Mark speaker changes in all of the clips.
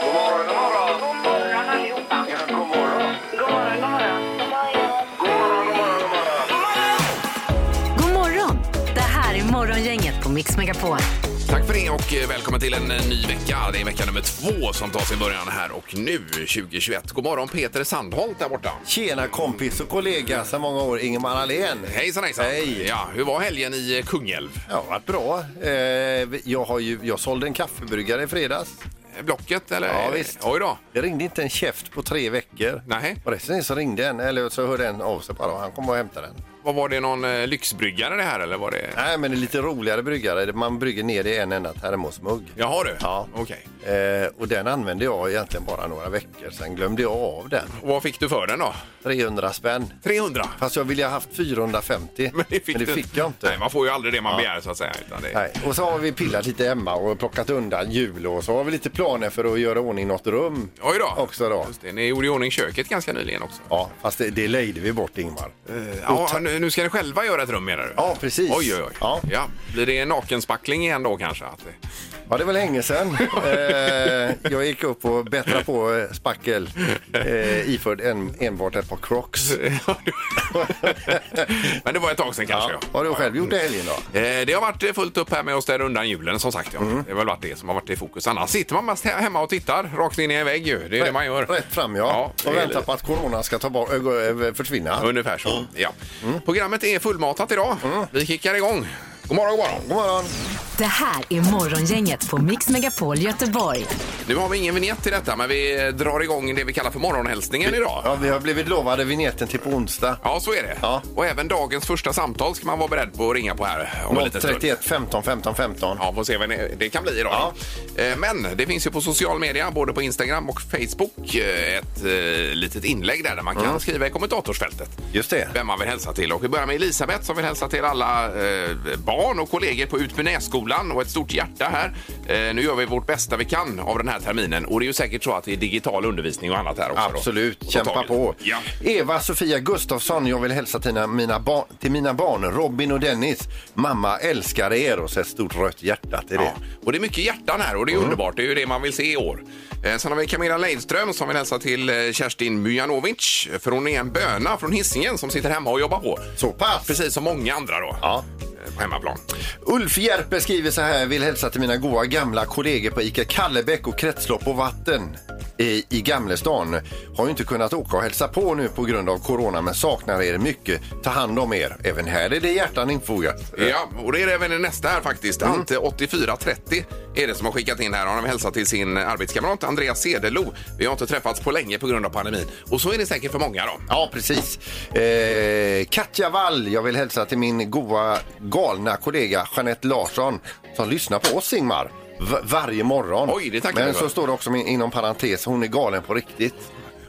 Speaker 1: God morgon, god morgon. God morgon allihopa. Ja, god morgon. God morgon, god morgon. God morgon, god morgon, god morgon.
Speaker 2: God morgon! Det här är Morgongänget på Mix Megapol.
Speaker 3: Tack för det och eh, välkommen till en eh, ny vecka. Det är vecka nummer två som tar sin början här och nu 2021. God morgon Peter Sandholt där borta.
Speaker 4: Tjena kompis och kollega sedan många år, Ingemar Ahlén.
Speaker 3: Hejsan hejsan.
Speaker 4: Hej.
Speaker 3: Ja, hur var helgen i eh, Kungälv?
Speaker 4: Ja, varit bra. Eh, jag, har ju, jag sålde en kaffebryggare i fredags.
Speaker 3: Eh, Blocket eller?
Speaker 4: Ja, visst.
Speaker 3: Oj då.
Speaker 4: Det ringde inte en käft på tre veckor.
Speaker 3: Nej.
Speaker 4: Och resten så ringde en, eller så hörde en av sig bara och han kom och hämtade den.
Speaker 3: Vad var det någon eh, lyxbryggare det här eller var det?
Speaker 4: Nej, men det är lite roligare bryggare. Man brygger ner det i en enda termosmugg.
Speaker 3: Jaha du.
Speaker 4: Ja.
Speaker 3: Okej.
Speaker 4: Eh, och den använde jag egentligen bara några veckor. Sen glömde jag av den.
Speaker 3: Och vad fick du för den då?
Speaker 4: 300 spänn.
Speaker 3: 300?
Speaker 4: Fast jag ville ha haft 450.
Speaker 3: du
Speaker 4: jag inte.
Speaker 3: Nej, man får ju aldrig det man begär så att säga. Utan det...
Speaker 4: Nej. Och så har vi pillat lite hemma och plockat undan jul och så har vi lite planer för att göra ordning något rum.
Speaker 3: Oj då.
Speaker 4: Också då.
Speaker 3: Just det. Ni gjorde i ordning köket ganska nyligen också.
Speaker 4: Ja, fast det, det lejde vi bort Ingmar.
Speaker 3: Ja, nu nu ska ni själva göra ett rum menar du?
Speaker 4: Ja, precis.
Speaker 3: Eh, Oj, oj, oj. Ja.
Speaker 4: Ja.
Speaker 3: Blir det en nakenspackling igen då kanske? Att det...
Speaker 4: Ja, det var länge sedan. eh, jag gick upp och bättrade på eh, spackel eh, iförd en, enbart ett par crocs.
Speaker 3: Men det var ett tag sedan kanske.
Speaker 4: Ja. Vad har du själv gjort i helgen då?
Speaker 3: Eh, Det har varit fullt upp här med att städa undan julen som sagt. Ja.
Speaker 4: Mm.
Speaker 3: Det har väl varit det som har varit i fokus. Annars sitter man mest he- hemma och tittar rakt in i en vägg ju. Det är det man gör.
Speaker 4: Rätt fram ja.
Speaker 3: det är
Speaker 4: och väntar
Speaker 3: lite-
Speaker 4: på Mm. att corona ska ta bort, ö, ö, försvinna.
Speaker 3: Ungefär så. Ja. Programmet är fullmatat idag.
Speaker 4: Mm.
Speaker 3: Vi kickar igång. God morgon, god morgon.
Speaker 4: God morgon!
Speaker 2: Det här är Morgongänget på Mix Megapol Göteborg.
Speaker 3: Nu har vi ingen vignett till detta, men vi drar igång det vi kallar för morgonhälsningen idag.
Speaker 4: Ja, vi har blivit lovade vignetten till på onsdag.
Speaker 3: Ja, så är det.
Speaker 4: Ja.
Speaker 3: Och även dagens första samtal ska man vara beredd på att ringa på här om en liten stund.
Speaker 4: 031 15 15 15.
Speaker 3: Ja, får se vad det- det kan bli idag. Eh, Men det finns ju på social media, både på Instagram och Facebook, eh, ett eh, litet inlägg där, där man kan
Speaker 4: Mm.
Speaker 3: skriva i kommentatorsfältet
Speaker 4: Just det.
Speaker 3: vem man vill hälsa till. Och vi börjar med Elisabeth som vill hälsa till alla eh, barn och kollegor på Utbynässkolan och ett stort hjärta här. Eh, nu gör vi vårt bästa vi kan av den här terminen och det är ju säkert så att det är digital undervisning och annat här också. då. Och
Speaker 4: Absolut,
Speaker 3: ta
Speaker 4: kämpa
Speaker 3: tag i det.
Speaker 4: på.
Speaker 3: Ja.
Speaker 4: Eva Sofia Gustafsson, jag vill hälsa till mina, barn, till mina barn Robin och Dennis. Mamma älskar er och så ett stort rött hjärta till det. Mm.
Speaker 3: Ja. Och det är mycket hjärtan här och det är underbart. Det är ju det man vill se i år. Eh, sen har vi Camilla Leifström som vill hälsa till eh, Kerstin Mujanovic. För hon är en böna från Hisingen som sitter hemma och jobbar på.
Speaker 4: Så pass!
Speaker 3: Precis som många andra då.
Speaker 4: Ja.
Speaker 3: eh, På hemmaplan.
Speaker 4: Ulf Järpe skriver så här, vill hälsa till mina goa gamla kollegor på ICA Kallebäck och Kretslopp och vatten i, i Gamlestan. Har ju inte kunnat åka och hälsa på nu på grund av corona men saknar er mycket. Ta hand om er. Även här är det hjärtan infogat.
Speaker 3: Ja, och det är det även i nästa här faktiskt.
Speaker 4: Mm.
Speaker 3: Ante8430 är det som har skickat in här. Han har hälsat till sin arbetskamrat Andreas Cederlo. Vi har inte träffats på länge på grund av pandemin. Och så är det säkert för många då.
Speaker 4: Ja, precis. Eh, Katja Wall, jag vill hälsa till min goa galna kollega Jeanette Larsson som lyssnar på oss, Ingmar. v- Varje morgon.
Speaker 3: Oj, det tackar vi
Speaker 4: Men
Speaker 3: för.
Speaker 4: så står det också min- inom parentes, hon är galen på riktigt.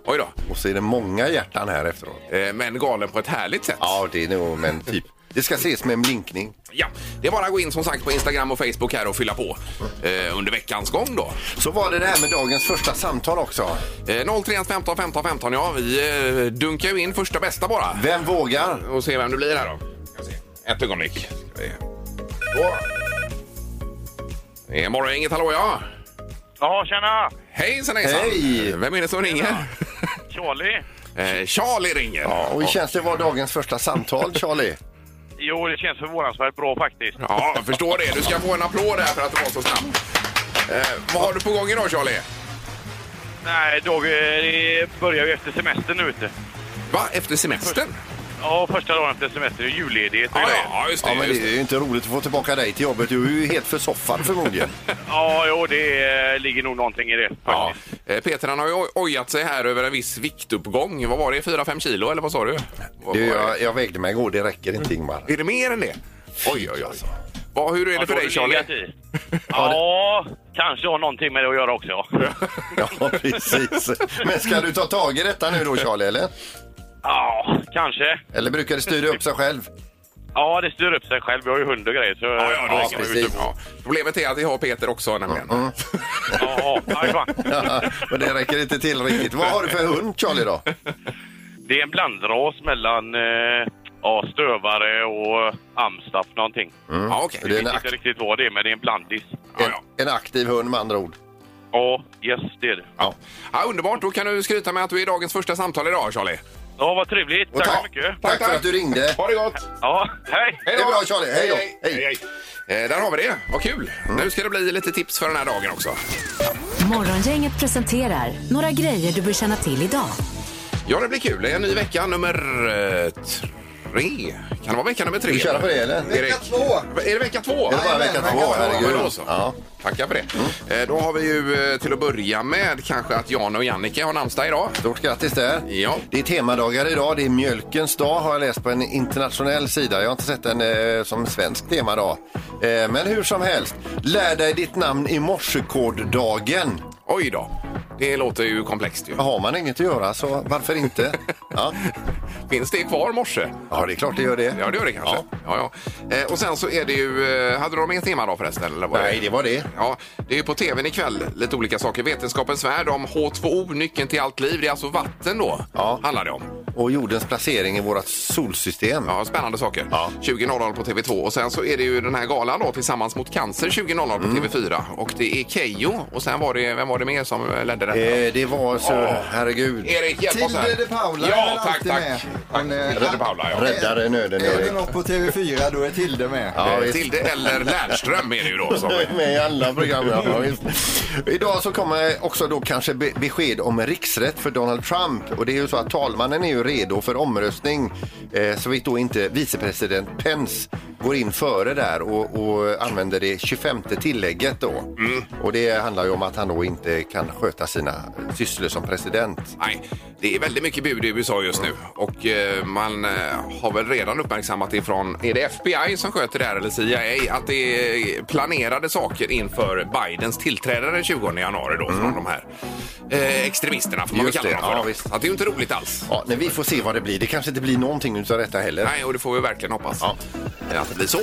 Speaker 3: Oj då.
Speaker 4: Och så är det många hjärtan här efteråt.
Speaker 3: Eh, Men galen på ett härligt sätt.
Speaker 4: Ja, det är nog, men typ. Det ska ses med en blinkning.
Speaker 3: Ja, det är bara att gå in som sagt på Instagram och Facebook här och fylla på eh, under veckans gång då.
Speaker 4: Så var det det här med dagens första samtal också.
Speaker 3: Eh, 031 15 15 15, ja vi eh, dunkar ju in första bästa bara.
Speaker 4: Vem vågar?
Speaker 3: Och se vem det blir här då. Ska vi se. Ett ögonblick. Ska vi- Så. Det är morgongänget, hallå ja!
Speaker 5: Ja, tjena!
Speaker 3: Hejsan hejsan!
Speaker 4: Hej.
Speaker 3: Vem är det som ringer?
Speaker 5: Charlie?
Speaker 3: Eh, Charlie ringer!
Speaker 4: Ja, och hur känns det var dagens första samtal, Charlie?
Speaker 5: Jo, det känns förvånansvärt bra faktiskt.
Speaker 3: Ja, jag förstår det. Du ska få en applåd här för att du var så snabb. Eh, vad har du på gång idag Charlie?
Speaker 5: Nej, dag, eh, det börjar ju efter semestern nu ute.
Speaker 3: Va? Efter semestern?
Speaker 5: Ja, första dagen efter semestern är julledighet och
Speaker 3: Ja,
Speaker 5: grejer.
Speaker 3: ja, just det.
Speaker 4: Ja, men
Speaker 3: just
Speaker 4: det är ju inte roligt att få tillbaka dig till jobbet. Du är ju helt försoffad förmodligen.
Speaker 5: Ja, jo, det eh, ligger nog någonting i det
Speaker 3: Ja.
Speaker 5: faktiskt.
Speaker 3: Eh, Peter han har ju oj- ojat sig här över en viss viktuppgång. Vad var det? 4-5 kilo eller vad sa du? Vad-
Speaker 4: Du,
Speaker 3: vad är
Speaker 4: jag, jag vägde mig igår, det räcker inte Ingmar.
Speaker 3: det? Är det mer än det? Oj, oj, oj.
Speaker 4: Alltså.
Speaker 3: Vad, hur är det
Speaker 5: Ja,
Speaker 3: för
Speaker 5: då har
Speaker 3: dig
Speaker 5: du
Speaker 3: Charlie?
Speaker 5: legat i. Ja, kanske har någonting med det att göra också. ja.
Speaker 4: Ja, precis. Men ska du ta tag i detta nu då Charlie, eller?
Speaker 5: Ja, kanske.
Speaker 4: Eller brukar det styra upp sig själv?
Speaker 5: Ja, det styr upp sig själv. Vi har ju hund och grejer. Så
Speaker 3: Ja, ja, då
Speaker 4: Ja,
Speaker 3: ska vi
Speaker 4: precis. Mm,
Speaker 3: ut upp. ja. Problemet är att vi har Peter också nämligen.
Speaker 5: Ja, ja, aj, fan.
Speaker 4: Men det räcker inte till riktigt. Vad har du för hund Charlie då?
Speaker 5: Det är en blandras mellan eh, ja, stövare och amstaff någonting.
Speaker 3: Ja, okej.
Speaker 4: mm. Det är en,
Speaker 5: Jag vet
Speaker 4: akt,
Speaker 5: inte riktigt vad det är, men det är en blandis.
Speaker 3: Ja, ja.
Speaker 4: en aktiv hund med andra ord.
Speaker 5: Ja, yes, det är det.
Speaker 3: Ja. Ja, underbart, då kan du skryta med att du är dagens första samtal idag Charlie.
Speaker 5: Ja, vad trevligt.
Speaker 4: Och
Speaker 5: Tack så mycket.
Speaker 4: Tack, för att du ringde.
Speaker 3: Ha det gott!
Speaker 5: Ja, hej!
Speaker 3: Hej
Speaker 4: Det är bra, Charlie. Hej då. Hej. Mm.
Speaker 3: hej. Eh, där har vi det. Vad kul! Nu ska det bli lite tips för den här dagen också.
Speaker 2: Morgongänget presenterar några grejer du bör känna till idag.
Speaker 3: Ja, det blir kul. Det är en ny vecka, nummer eh, tre. Kan det vara vecka nummer tre?
Speaker 4: vi köra på det, eller?
Speaker 3: Är det-
Speaker 6: Vecka två.
Speaker 3: Är det vecka två?
Speaker 4: Är det bara vecka
Speaker 6: vecka
Speaker 4: två?
Speaker 6: två.
Speaker 3: Ja, men då
Speaker 4: Herregud.
Speaker 3: så.
Speaker 4: Ja. Mm.
Speaker 3: Tackar för det. Eh, Då har vi ju eh, till att börja med kanske att Jan och Jannike har namnsdag idag.
Speaker 4: Stort grattis där.
Speaker 3: Ja.
Speaker 4: Det är temadagar idag. Det är mjölkens dag har jag läst på en internationell sida. Jag har inte sett en eh, som svensk temadag. Eh, men hur som helst. Lär dig ditt namn i morsekoddagen.
Speaker 3: Oj då. Det låter ju komplext ju.
Speaker 4: Har man inget att göra så varför inte? Ja,
Speaker 3: Finns det kvar morse?
Speaker 4: ja det är klart det gör det.
Speaker 3: Ja, det gör det kanske. Ja. Ja, Eh, Och sen så är det ju... eh, Hade de ingen temadag förresten? Eller vad är
Speaker 4: Nej, det var det.
Speaker 3: Ja, det är ju på tvn ikväll lite olika saker. Vetenskapens värld om H2O, nyckeln till allt liv. Det är alltså vatten då,
Speaker 4: Ja.
Speaker 3: handlar det om.
Speaker 4: Och jordens placering i vårt solsystem.
Speaker 3: Ja, spännande saker.
Speaker 4: Ja.
Speaker 3: 20.00 på TV2 och sen så är det ju den här galan då Tillsammans mot cancer 20.00
Speaker 4: Mm.
Speaker 3: på TV4 och det är Kejo och sen var det, vem var det mer som ledde detta?
Speaker 4: Eh, det var så, herregud.
Speaker 3: Erik, hjälp oss här.
Speaker 6: Tilde de Paula är väl
Speaker 3: Ja, tack,
Speaker 6: alltid
Speaker 3: tack.
Speaker 6: med. Men, eh,
Speaker 3: Tilde de Paula, ja.
Speaker 4: Räddare i nöden,
Speaker 6: Är det
Speaker 4: Erik.
Speaker 6: något på TV4 då är Tilde med.
Speaker 4: Ja,
Speaker 3: Eh,
Speaker 4: visst.
Speaker 3: Tilde eller Lernström är det ju då. Som
Speaker 4: Jag är med i alla program. Ja, visst. Idag så kommer också då kanske be- besked om riksrätt för Donald Trump. Och det är ju så att talmannen är ju redo för omröstning eh, såvitt då inte vicepresident Pence går in före där och, och använder det 25 tillägget då. Och det handlar ju om att han då inte kan sköta sina sysslor som president.
Speaker 3: Nej, det är väldigt mycket bud i USA just nu och eh, man eh, har väl redan uppmärksammat ifrån, är det FBI som sköter det här eller CIA, att det är planerade saker inför Bidens tillträde den 20 januari då från de här eh, extremisterna får man väl
Speaker 4: Mm. Just
Speaker 3: kalla
Speaker 4: det,
Speaker 3: dem för.
Speaker 4: ja,
Speaker 3: då.
Speaker 4: visst.
Speaker 3: Så att det är ju inte roligt alls.
Speaker 4: Ja, men vi får se vad det blir. Det kanske inte blir någonting utav detta heller.
Speaker 3: Nej, och det får vi verkligen hoppas
Speaker 4: Ja. Mm,
Speaker 3: eh, att det blir så.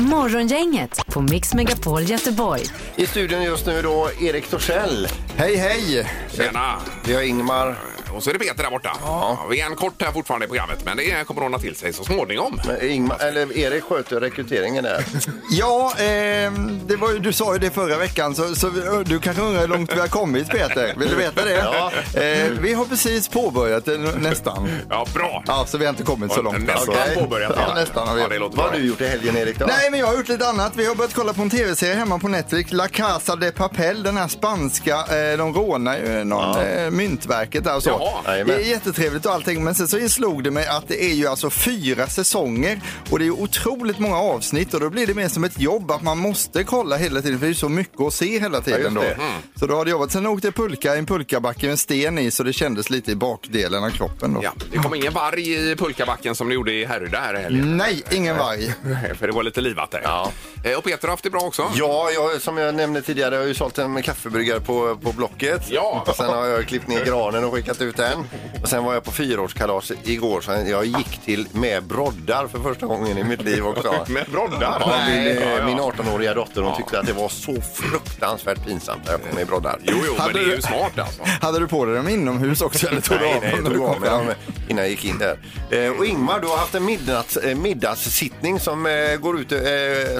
Speaker 2: Morgongänget på Mix Megapol Göteborg.
Speaker 4: I studion just nu då Erik Torssell.
Speaker 6: Hej hej!
Speaker 3: Tjena!
Speaker 4: Vi har Ingmar.
Speaker 3: Och så är det Peter där borta. Ja, vi är en kort här fortfarande i programmet, men det kommer ordna till sig så småningom.
Speaker 4: Men Ingmar, eller Erik sköter rekryteringen där.
Speaker 6: Ja, ehm, det var ju, du sa ju det förra veckan så, så vi- du kanske undrar hur långt vi har kommit Peter. Vill du veta det?
Speaker 4: Ja.
Speaker 6: Eh, vi har precis påbörjat det nästan.
Speaker 3: Ja, bra!
Speaker 6: Ja, så vi har inte kommit så långt.
Speaker 3: Nästan
Speaker 6: alltså.
Speaker 3: påbörjat.
Speaker 6: Ja, nästan har vi.
Speaker 3: Ja, det låter
Speaker 4: Vad
Speaker 3: bra.
Speaker 4: har du gjort i helgen Erik då?
Speaker 6: Nej, men jag har gjort lite annat. Vi har börjat kolla på en tv-serie hemma på Netflix. La Casa de Papel, den här spanska. Eh, de rånar ju någon, eh, myntverket där och så.
Speaker 3: Jaha.
Speaker 6: Det
Speaker 4: Jajamän.
Speaker 6: är jättetrevligt och allting, men sen så slog det mig att det är ju alltså fyra säsonger och det är ju otroligt många avsnitt och då blir det mer som ett jobb att man måste kolla hela tiden för det är ju så mycket att se hela tiden
Speaker 4: Ja,
Speaker 6: då.
Speaker 4: just det. Mm.
Speaker 6: Så då har det jobbat. Sen åkte jag pulka i en pulkabacke med en sten i så det kändes lite i bakdelen av kroppen då.
Speaker 3: Ja, det kom ingen varg i pulkabacken som det gjorde i Härryda här i helgen.
Speaker 6: Nej, ingen varg.
Speaker 3: Nej, För det var lite livat där.
Speaker 4: Ja.
Speaker 3: Eh, Och Peter har haft det bra också.
Speaker 4: Ja, jag, som jag nämnde tidigare, jag har ju sålt en kaffebryggare på, på Blocket.
Speaker 3: Ja.
Speaker 4: Och Sen har jag klippt ner granen och skickat ut den. Och sen var jag på fyraårskalas igår, så jag gick till med broddar för första gången i mitt liv också.
Speaker 3: Med broddar?
Speaker 4: Ja, min,
Speaker 3: Nej.
Speaker 4: eh,
Speaker 3: Ja, ja.
Speaker 4: min 18-åriga dotter hon tyckte att det var så fruktansvärt pinsamt när jag kom i broddar.
Speaker 3: Jo, jo, men
Speaker 6: Hade
Speaker 3: det är ju
Speaker 6: du-
Speaker 3: smart alltså.
Speaker 6: Hade du på dig dem inomhus också eller tog du
Speaker 4: Nej,
Speaker 6: av
Speaker 4: nej,
Speaker 6: dem
Speaker 4: jag
Speaker 6: när du
Speaker 4: tog av
Speaker 6: kom
Speaker 4: mig
Speaker 6: fram?
Speaker 4: dem innan jag gick in där. Eh, och Ingmar, du har haft en midnatt, eh, middagssittning som, eh, går ut, eh,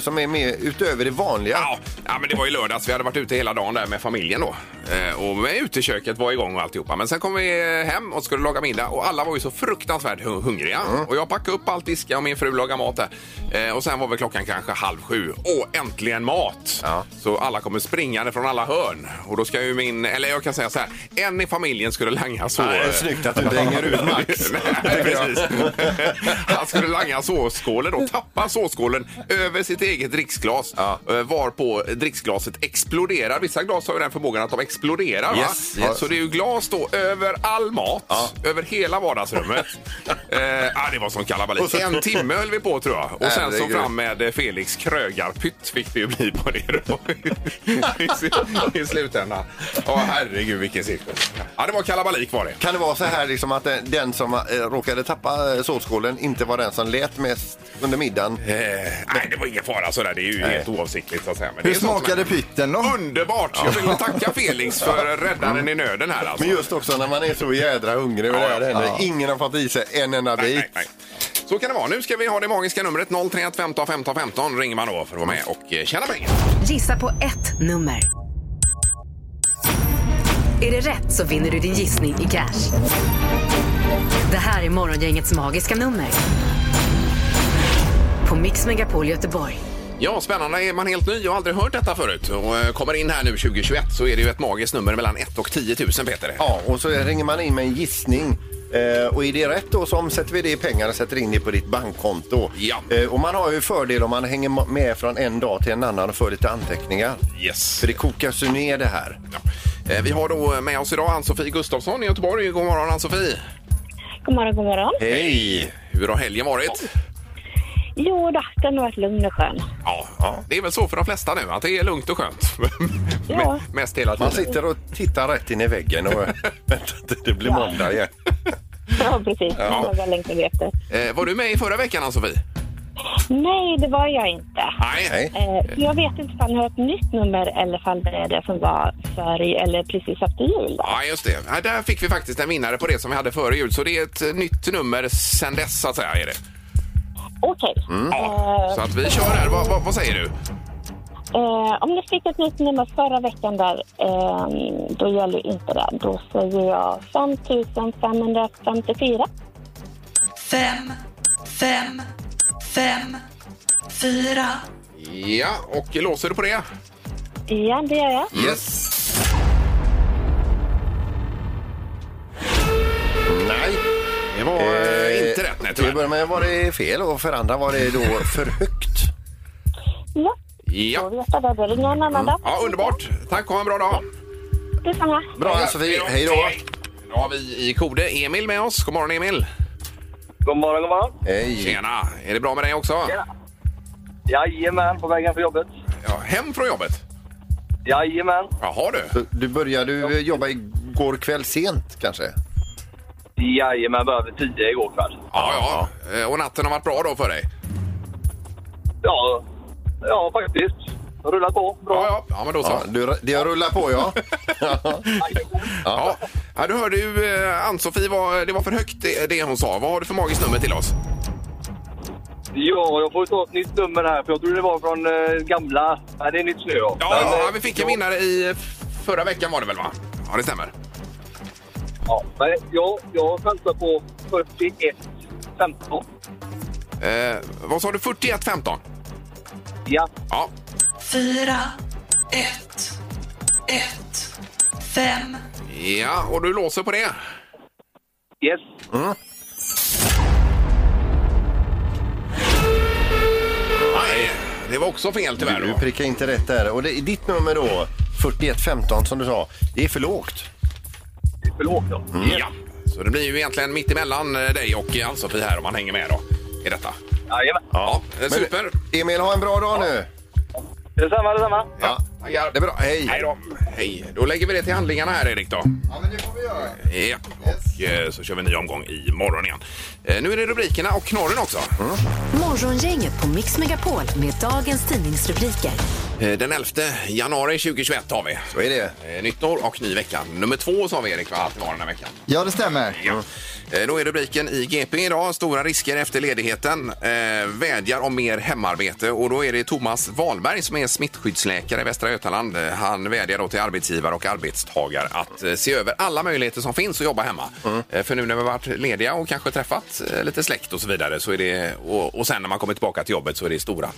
Speaker 4: som är med, utöver det vanliga.
Speaker 3: Ja, ja, men det var ju lördags. Vi hade varit ute hela dagen där med familjen då. Eh, och med uteköket var igång och alltihopa. Men sen kom vi hem och skulle laga middag och alla var ju så fruktansvärt hu- hungriga. Och jag packade upp allt, diska och min fru lagade mat där. Eh, och sen var väl klockan kanske halv sju. Åh, äntligen mat!
Speaker 4: Ja.
Speaker 3: Så alla kommer springande från alla hörn. Och då ska ju min, eller jag kan säga så här, en i familjen skulle langa så. eh,
Speaker 4: Nej, snyggt att du bränger ut Max.
Speaker 3: Nej, precis. Han skulle langa såsskålen och tappa såsskålen över sitt eget dricksglas
Speaker 4: Ja.
Speaker 3: eh, varpå dricksglaset exploderar. Vissa glas har ju den förmågan att de exploderar.
Speaker 4: Yes,
Speaker 3: va?
Speaker 4: yes.
Speaker 3: Så det är ju glas då över all mat, över hela vardagsrummet. eh, ah, det var som kalabalik. En timme höll vi på tror jag. Och sen så
Speaker 4: Herregud.
Speaker 3: fram med eh, Felix Krögarpytt fick det ju bli på det då. I, sl- I slutändan. Åh herregud vilken cirkus. Ja, det var kalabalik var det.
Speaker 4: Kan det vara så här liksom att eh, den som eh, råkade tappa eh, såsskålen inte var den som lät mest under middagen?
Speaker 3: Eh, nej, det var ingen fara sådär. Det är ju helt oavsiktligt så att säga. Men
Speaker 6: Hur
Speaker 3: det är sånt
Speaker 6: smakade
Speaker 3: som är-
Speaker 6: pytten då?
Speaker 3: Underbart! Jag vill tacka Felix för räddaren i nöden här alltså.
Speaker 4: Men just också när man är så jädra hungrig och det här händer. Ingen har fått i sig en enda
Speaker 3: Nej,
Speaker 4: bit.
Speaker 3: nej, nej. Så kan det vara. Nu ska vi ha det magiska numret 031 15 15 15 ringer man då för att vara med och eh, tjäna pengar.
Speaker 2: Gissa på ett nummer. Är det rätt så vinner du din gissning i cash. Det här är Morgongängets magiska nummer. På Mix Megapol Göteborg.
Speaker 3: Ja, spännande. Är man helt ny och har aldrig hört detta förut och eh, kommer in här nu 2021 så är det ju ett magiskt nummer mellan 1 och 10 000, Peter.
Speaker 4: Ja, och så ringer man in med en gissning. Eh, och är det rätt då så omsätter vi det i pengar och sätter in det på ditt bankkonto.
Speaker 3: Ja.
Speaker 4: Eh, och man har ju fördel om man hänger ma- med från en dag till en annan och får lite anteckningar.
Speaker 3: Yes.
Speaker 4: För det kokas ju ner det här.
Speaker 3: Ja. Eh, Vi har då med oss idag Ann-Sofie Gustafsson i Göteborg. God morgon Ann-Sofie!
Speaker 7: God morgon, god morgon.
Speaker 4: Hej!
Speaker 3: Hur har helgen varit?
Speaker 7: Jo då, den har varit lugn och skön.
Speaker 3: Ja, det är väl så för de flesta nu att det är lugnt och skönt.
Speaker 7: Ja.
Speaker 3: M- Mest hela
Speaker 4: Man
Speaker 3: tiden.
Speaker 4: sitter och tittar rätt in i väggen och väntar till det blir måndag igen.
Speaker 7: Ja, precis. Det var väl länge vi efter.
Speaker 3: Eh, Var du med i förra veckan Ann-Sofie?
Speaker 7: Nej, det var jag inte.
Speaker 3: Nej.
Speaker 4: Nej.
Speaker 7: Eh, för jag vet inte om jag har ett nytt nummer eller om det är det som var för, eller precis efter jul. Då.
Speaker 3: Ja, just det. Ja, där fick vi faktiskt en vinnare på det som vi hade före jul. Så det är ett eh, nytt nummer sen dess, så att säga. Är det.
Speaker 7: Okej.
Speaker 3: Ja, så att vi kör här. Vad, vad, vad säger du?
Speaker 7: Eh, om ni fick ett nytt nummer förra veckan där, eh, då gäller ju inte det. Då säger jag 5554.
Speaker 8: fem, fem, fem, fyra,
Speaker 3: Ja, och låser du på det?
Speaker 7: Ja, det gör jag.
Speaker 4: Yes! Nej.
Speaker 3: Det var eh, inte rätt, nej,
Speaker 4: Till att
Speaker 3: tyvärr.
Speaker 4: börja med var det fel och för andra var det då för högt.
Speaker 7: Ja, då
Speaker 3: Ja. Mm.
Speaker 7: vet jag det. Då ringer jag en annan dag.
Speaker 3: ja, underbart. Tack och ha en bra dag.
Speaker 7: Detsamma.
Speaker 4: Bra Ann-Sofie, hej då!
Speaker 3: Nu har vi i Kode Emil med oss. God morgon, Emil.
Speaker 9: God morgon, god morgon.
Speaker 4: Hej!
Speaker 3: Tjena. Är det bra med dig också?
Speaker 9: Jajamän, på vägen för jobbet.
Speaker 3: Ja, hem från jobbet?
Speaker 9: Jajamän.
Speaker 3: Jaha, du.
Speaker 4: Så Du började ju eh, jobba igår kväll sent kanske?
Speaker 9: Jajamän, började vid tio igår kväll.
Speaker 3: Ja, ja. Eh, Och natten har varit bra då för dig?
Speaker 9: Ja, ja faktiskt. Rullat på.
Speaker 3: Ja,
Speaker 9: Bra.
Speaker 3: ja. ja men då så.
Speaker 4: Ja, du, det har rullat på ja.
Speaker 3: Ja. Ja, du hörde ju eh, Ann-Sofie, var, det var för högt det, det hon sa. Vad har du för magiskt nummer till oss?
Speaker 9: Ja, jag får ju ta ett nytt nummer här, för jag tror det var från eh, gamla... Nej, det är nytt nu. Ja,
Speaker 3: Ja,
Speaker 9: Men, eh,
Speaker 3: vi fick en vinnare i eh, förra veckan var det väl va? Ja, det stämmer.
Speaker 9: Ja, men jag, jag chansar på 41 15.
Speaker 3: Eh, vad sa du? 41-15?
Speaker 9: Ja,
Speaker 3: Ja.
Speaker 8: fyra, ett, ett, fem,
Speaker 3: ja, och du låser på det?
Speaker 9: yes.
Speaker 3: Nej, det var också fel tyvärr.
Speaker 4: Du
Speaker 3: Då.
Speaker 4: prickar inte rätt där. Och det, ditt nummer då, 4115 som du sa, det är för lågt.
Speaker 9: Förlåt. Ja.
Speaker 3: Ja. Så det blir ju egentligen mitt emellan eh, dig och eh, Ann-Sofie här om man hänger med då i detta.
Speaker 9: Jajamän.
Speaker 3: Ja, eh, super.
Speaker 4: Emil, ha en bra dag nu!
Speaker 9: Detsamma, detsamma.
Speaker 4: Ja,
Speaker 3: Tackar.
Speaker 4: det är bra.
Speaker 3: Hej
Speaker 4: Hej!
Speaker 3: då. Hej. Då lägger vi det till handlingarna här, Erik. Då.
Speaker 6: Ja, men det får vi göra.
Speaker 3: Ja. Och eh, så kör vi en ny omgång i morgon igen. Eh, Nu är det rubrikerna och knorren också.
Speaker 2: Morgongänget på Mix Megapol med dagens tidningsrubriker.
Speaker 3: Eh, Den 11 januari 2021 har vi.
Speaker 4: Så är det.
Speaker 3: Eh, Nytt år och ny vecka. Nummer två sa vi, Erik, va? att det var den här veckan.
Speaker 6: Ja, det stämmer.
Speaker 3: Ja. Eh, Då är rubriken i GP idag. Stora risker efter ledigheten. Eh, vädjar om mer hemarbete. Och då är det Thomas Wahlberg som är smittskyddsläkare i Västra Götaland. Eh, Han vädjar då till arbetsgivare och arbetstagare att eh, se över alla möjligheter som finns att jobba hemma. Eh, för nu när vi har varit lediga och kanske träffat eh, lite släkt och så vidare så är det, och, och sen när man kommer tillbaka till jobbet så är det stora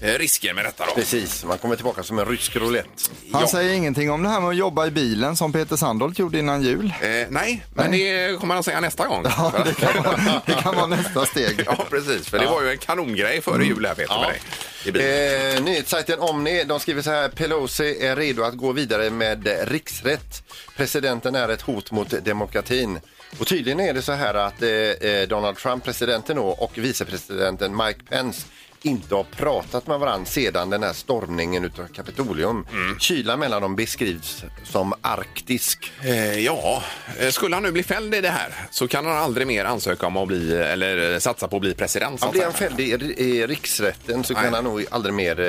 Speaker 3: eh, risker med detta. Då.
Speaker 4: Precis, man kommer tillbaka som en rysk roulette.
Speaker 6: Han
Speaker 3: Ja.
Speaker 6: säger ingenting om det här med att jobba i bilen som Peter Sandholt gjorde innan jul.
Speaker 3: Eh, nej, men det kommer han säga nästa gång.
Speaker 6: Ja, det kan vara, det kan vara nästa steg.
Speaker 3: Ja, precis. För det var ju en kanongrej före jul här, Peter, med dig. I bilen.
Speaker 4: Eh, nyhetssajten Omni de skriver så här. Pelosi är redo att gå vidare med riksrätt. Presidenten är ett hot mot demokratin. Och tydligen är det så här att eh, eh, Donald Trump, presidenten då, och vicepresidenten Mike Pence inte har pratat med varandra sedan den här stormningen utav Kapitolium.
Speaker 3: Mm.
Speaker 4: Kylan mellan dem beskrivs som arktisk.
Speaker 3: Eh, ja, eh, skulle han nu bli fälld i det här så kan han aldrig mer ansöka om att bli, eller eh, satsa på att bli president. så
Speaker 4: Ja,
Speaker 3: att
Speaker 4: blir han
Speaker 3: säga.
Speaker 4: fälld i, i riksrätten så
Speaker 3: Nej.
Speaker 4: kan han nog aldrig mer eh,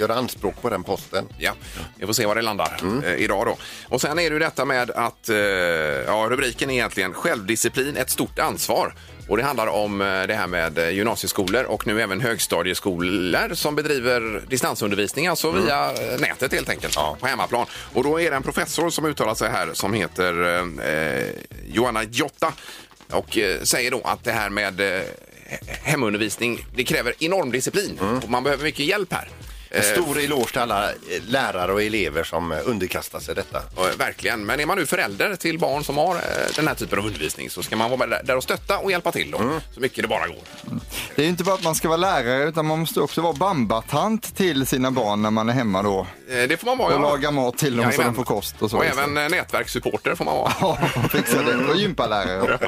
Speaker 4: göra anspråk på den posten.
Speaker 3: Ja, vi får se var det landar eh, idag då. Och sen är det ju detta med att, eh, ja rubriken är egentligen självdisciplin, ett stort ansvar. Och det handlar om eh, det här med eh, gymnasieskolor och nu även högstadieskolor som bedriver distansundervisning, alltså via eh, nätet helt enkelt, på hemmaplan. Och då är det en professor som uttalar sig här som heter eh, eh, Johanna Giotta och eh, säger då att det här med eh, he- hemundervisning, det kräver enorm disciplin och man behöver mycket hjälp här.
Speaker 4: En stor eloge till alla eh, lärare och elever som eh, underkastar sig detta.
Speaker 3: Ja, Verkligen. Men är man nu förälder till barn som har eh, den här typen av undervisning så ska man vara med där och stötta och hjälpa till då,
Speaker 6: Mm.
Speaker 3: så mycket det bara går.
Speaker 6: Det är ju inte bara att man ska vara lärare utan man måste också vara bambatant till sina barn när man är hemma då.
Speaker 3: Eh, Det får man vara.
Speaker 6: Och laga mat till dem så
Speaker 3: Jajamän.
Speaker 6: de får kost och så
Speaker 3: Och
Speaker 6: istället.
Speaker 3: även eh, nätverkssupporter får man vara.
Speaker 6: Ja, fixa det. Och gympalärare.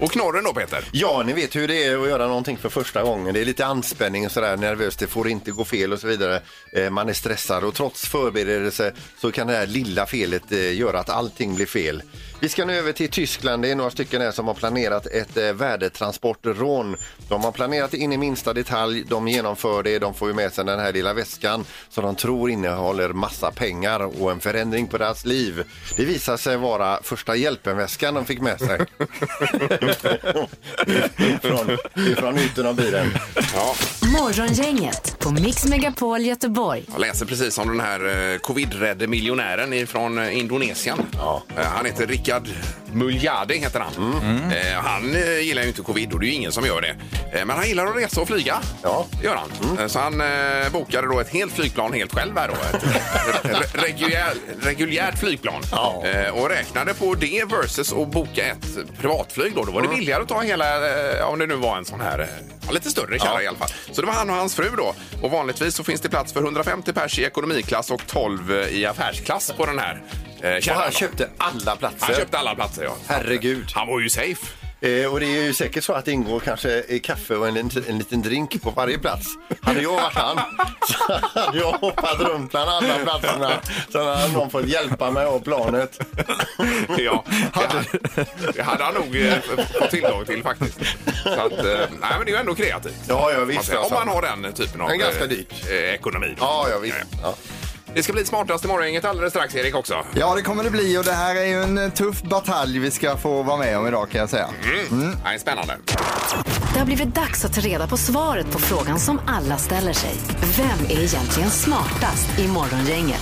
Speaker 3: och knorren då Peter?
Speaker 4: Ja, ni vet hur det är att göra någonting för första gången. Det är lite anspänning och sådär, nervöst, det får inte gå fel och så vidare. Eh, Man är stressad och trots förberedelse så kan det här lilla felet eh, göra att allting blir fel. Vi ska nu över till Tyskland. Det är några stycken här som har planerat ett eh, värdetransportrån. De har planerat in i minsta detalj, de genomför det, de får ju med sig den här lilla väskan som de tror innehåller massa pengar och en förändring på deras liv. Det visar sig vara första hjälpen-väskan de fick med sig. från, från ytan av bilen.
Speaker 3: Ja,
Speaker 2: Morgongänget på Mix Megapol Göteborg.
Speaker 3: jag läser precis om den här eh, covid-rädde miljonären från eh, Indonesien.
Speaker 4: Ja.
Speaker 3: Eh, Han heter Rickard Muljade heter han.
Speaker 6: Mm.
Speaker 3: Eh, Han eh, gillar ju inte covid och det är ju ingen som gör det. Eh, Men han gillar att resa och flyga.
Speaker 4: Ja.
Speaker 3: Det gör han.
Speaker 6: Mm.
Speaker 3: Eh, Så han eh, bokade då ett helt flygplan helt själv här då. Ett re- re- reguljär, reguljärt flygplan.
Speaker 4: Ja.
Speaker 3: Eh, Och räknade på det versus att boka ett privatflyg då. Då var det
Speaker 4: Mm.
Speaker 3: billigare att ta hela, eh, om det nu var en sån här eh, ja, lite större kärra
Speaker 4: Ja.
Speaker 3: i alla fall. Så det var han och hans fru då. Och vanligtvis så finns det plats för 150 pers i ekonomiklass och 12 i affärsklass på den här eh,
Speaker 4: Och
Speaker 3: kärran.
Speaker 4: han
Speaker 3: då.
Speaker 4: köpte alla platser.
Speaker 3: Han köpte alla platser, ja.
Speaker 4: Herregud.
Speaker 3: Han var ju safe.
Speaker 4: Eh, och det är ju säkert så att det ingår kanske eh, kaffe och en, lit- en liten drink på varje plats. Hade jag varit han så hade jag hoppat runt bland alla platserna. Så hade någon fått hjälpa mig av planet.
Speaker 3: ja, det hade, det hade han nog eh, fått tillgång till faktiskt. Så att, eh, nej, men det är ju ändå kreativt.
Speaker 4: Ja, ja, visst,
Speaker 3: Man säger, Om
Speaker 4: alltså.
Speaker 3: man har den typen av
Speaker 4: Men ganska
Speaker 3: eh,
Speaker 4: dyrt.
Speaker 3: eh, ekonomi. då.
Speaker 4: Ja, ja visst. Ja.
Speaker 3: Det ska bli smartast i morgongänget alldeles strax, Erik, också.
Speaker 6: Ja, det kommer det bli och det här är ju en eh, tuff batalj vi ska få vara med om idag kan jag säga.
Speaker 3: Mm. Nej, spännande.
Speaker 2: Det har blivit dags att ta reda på svaret på frågan som alla ställer sig. Vem är egentligen smartast i Morgongänget?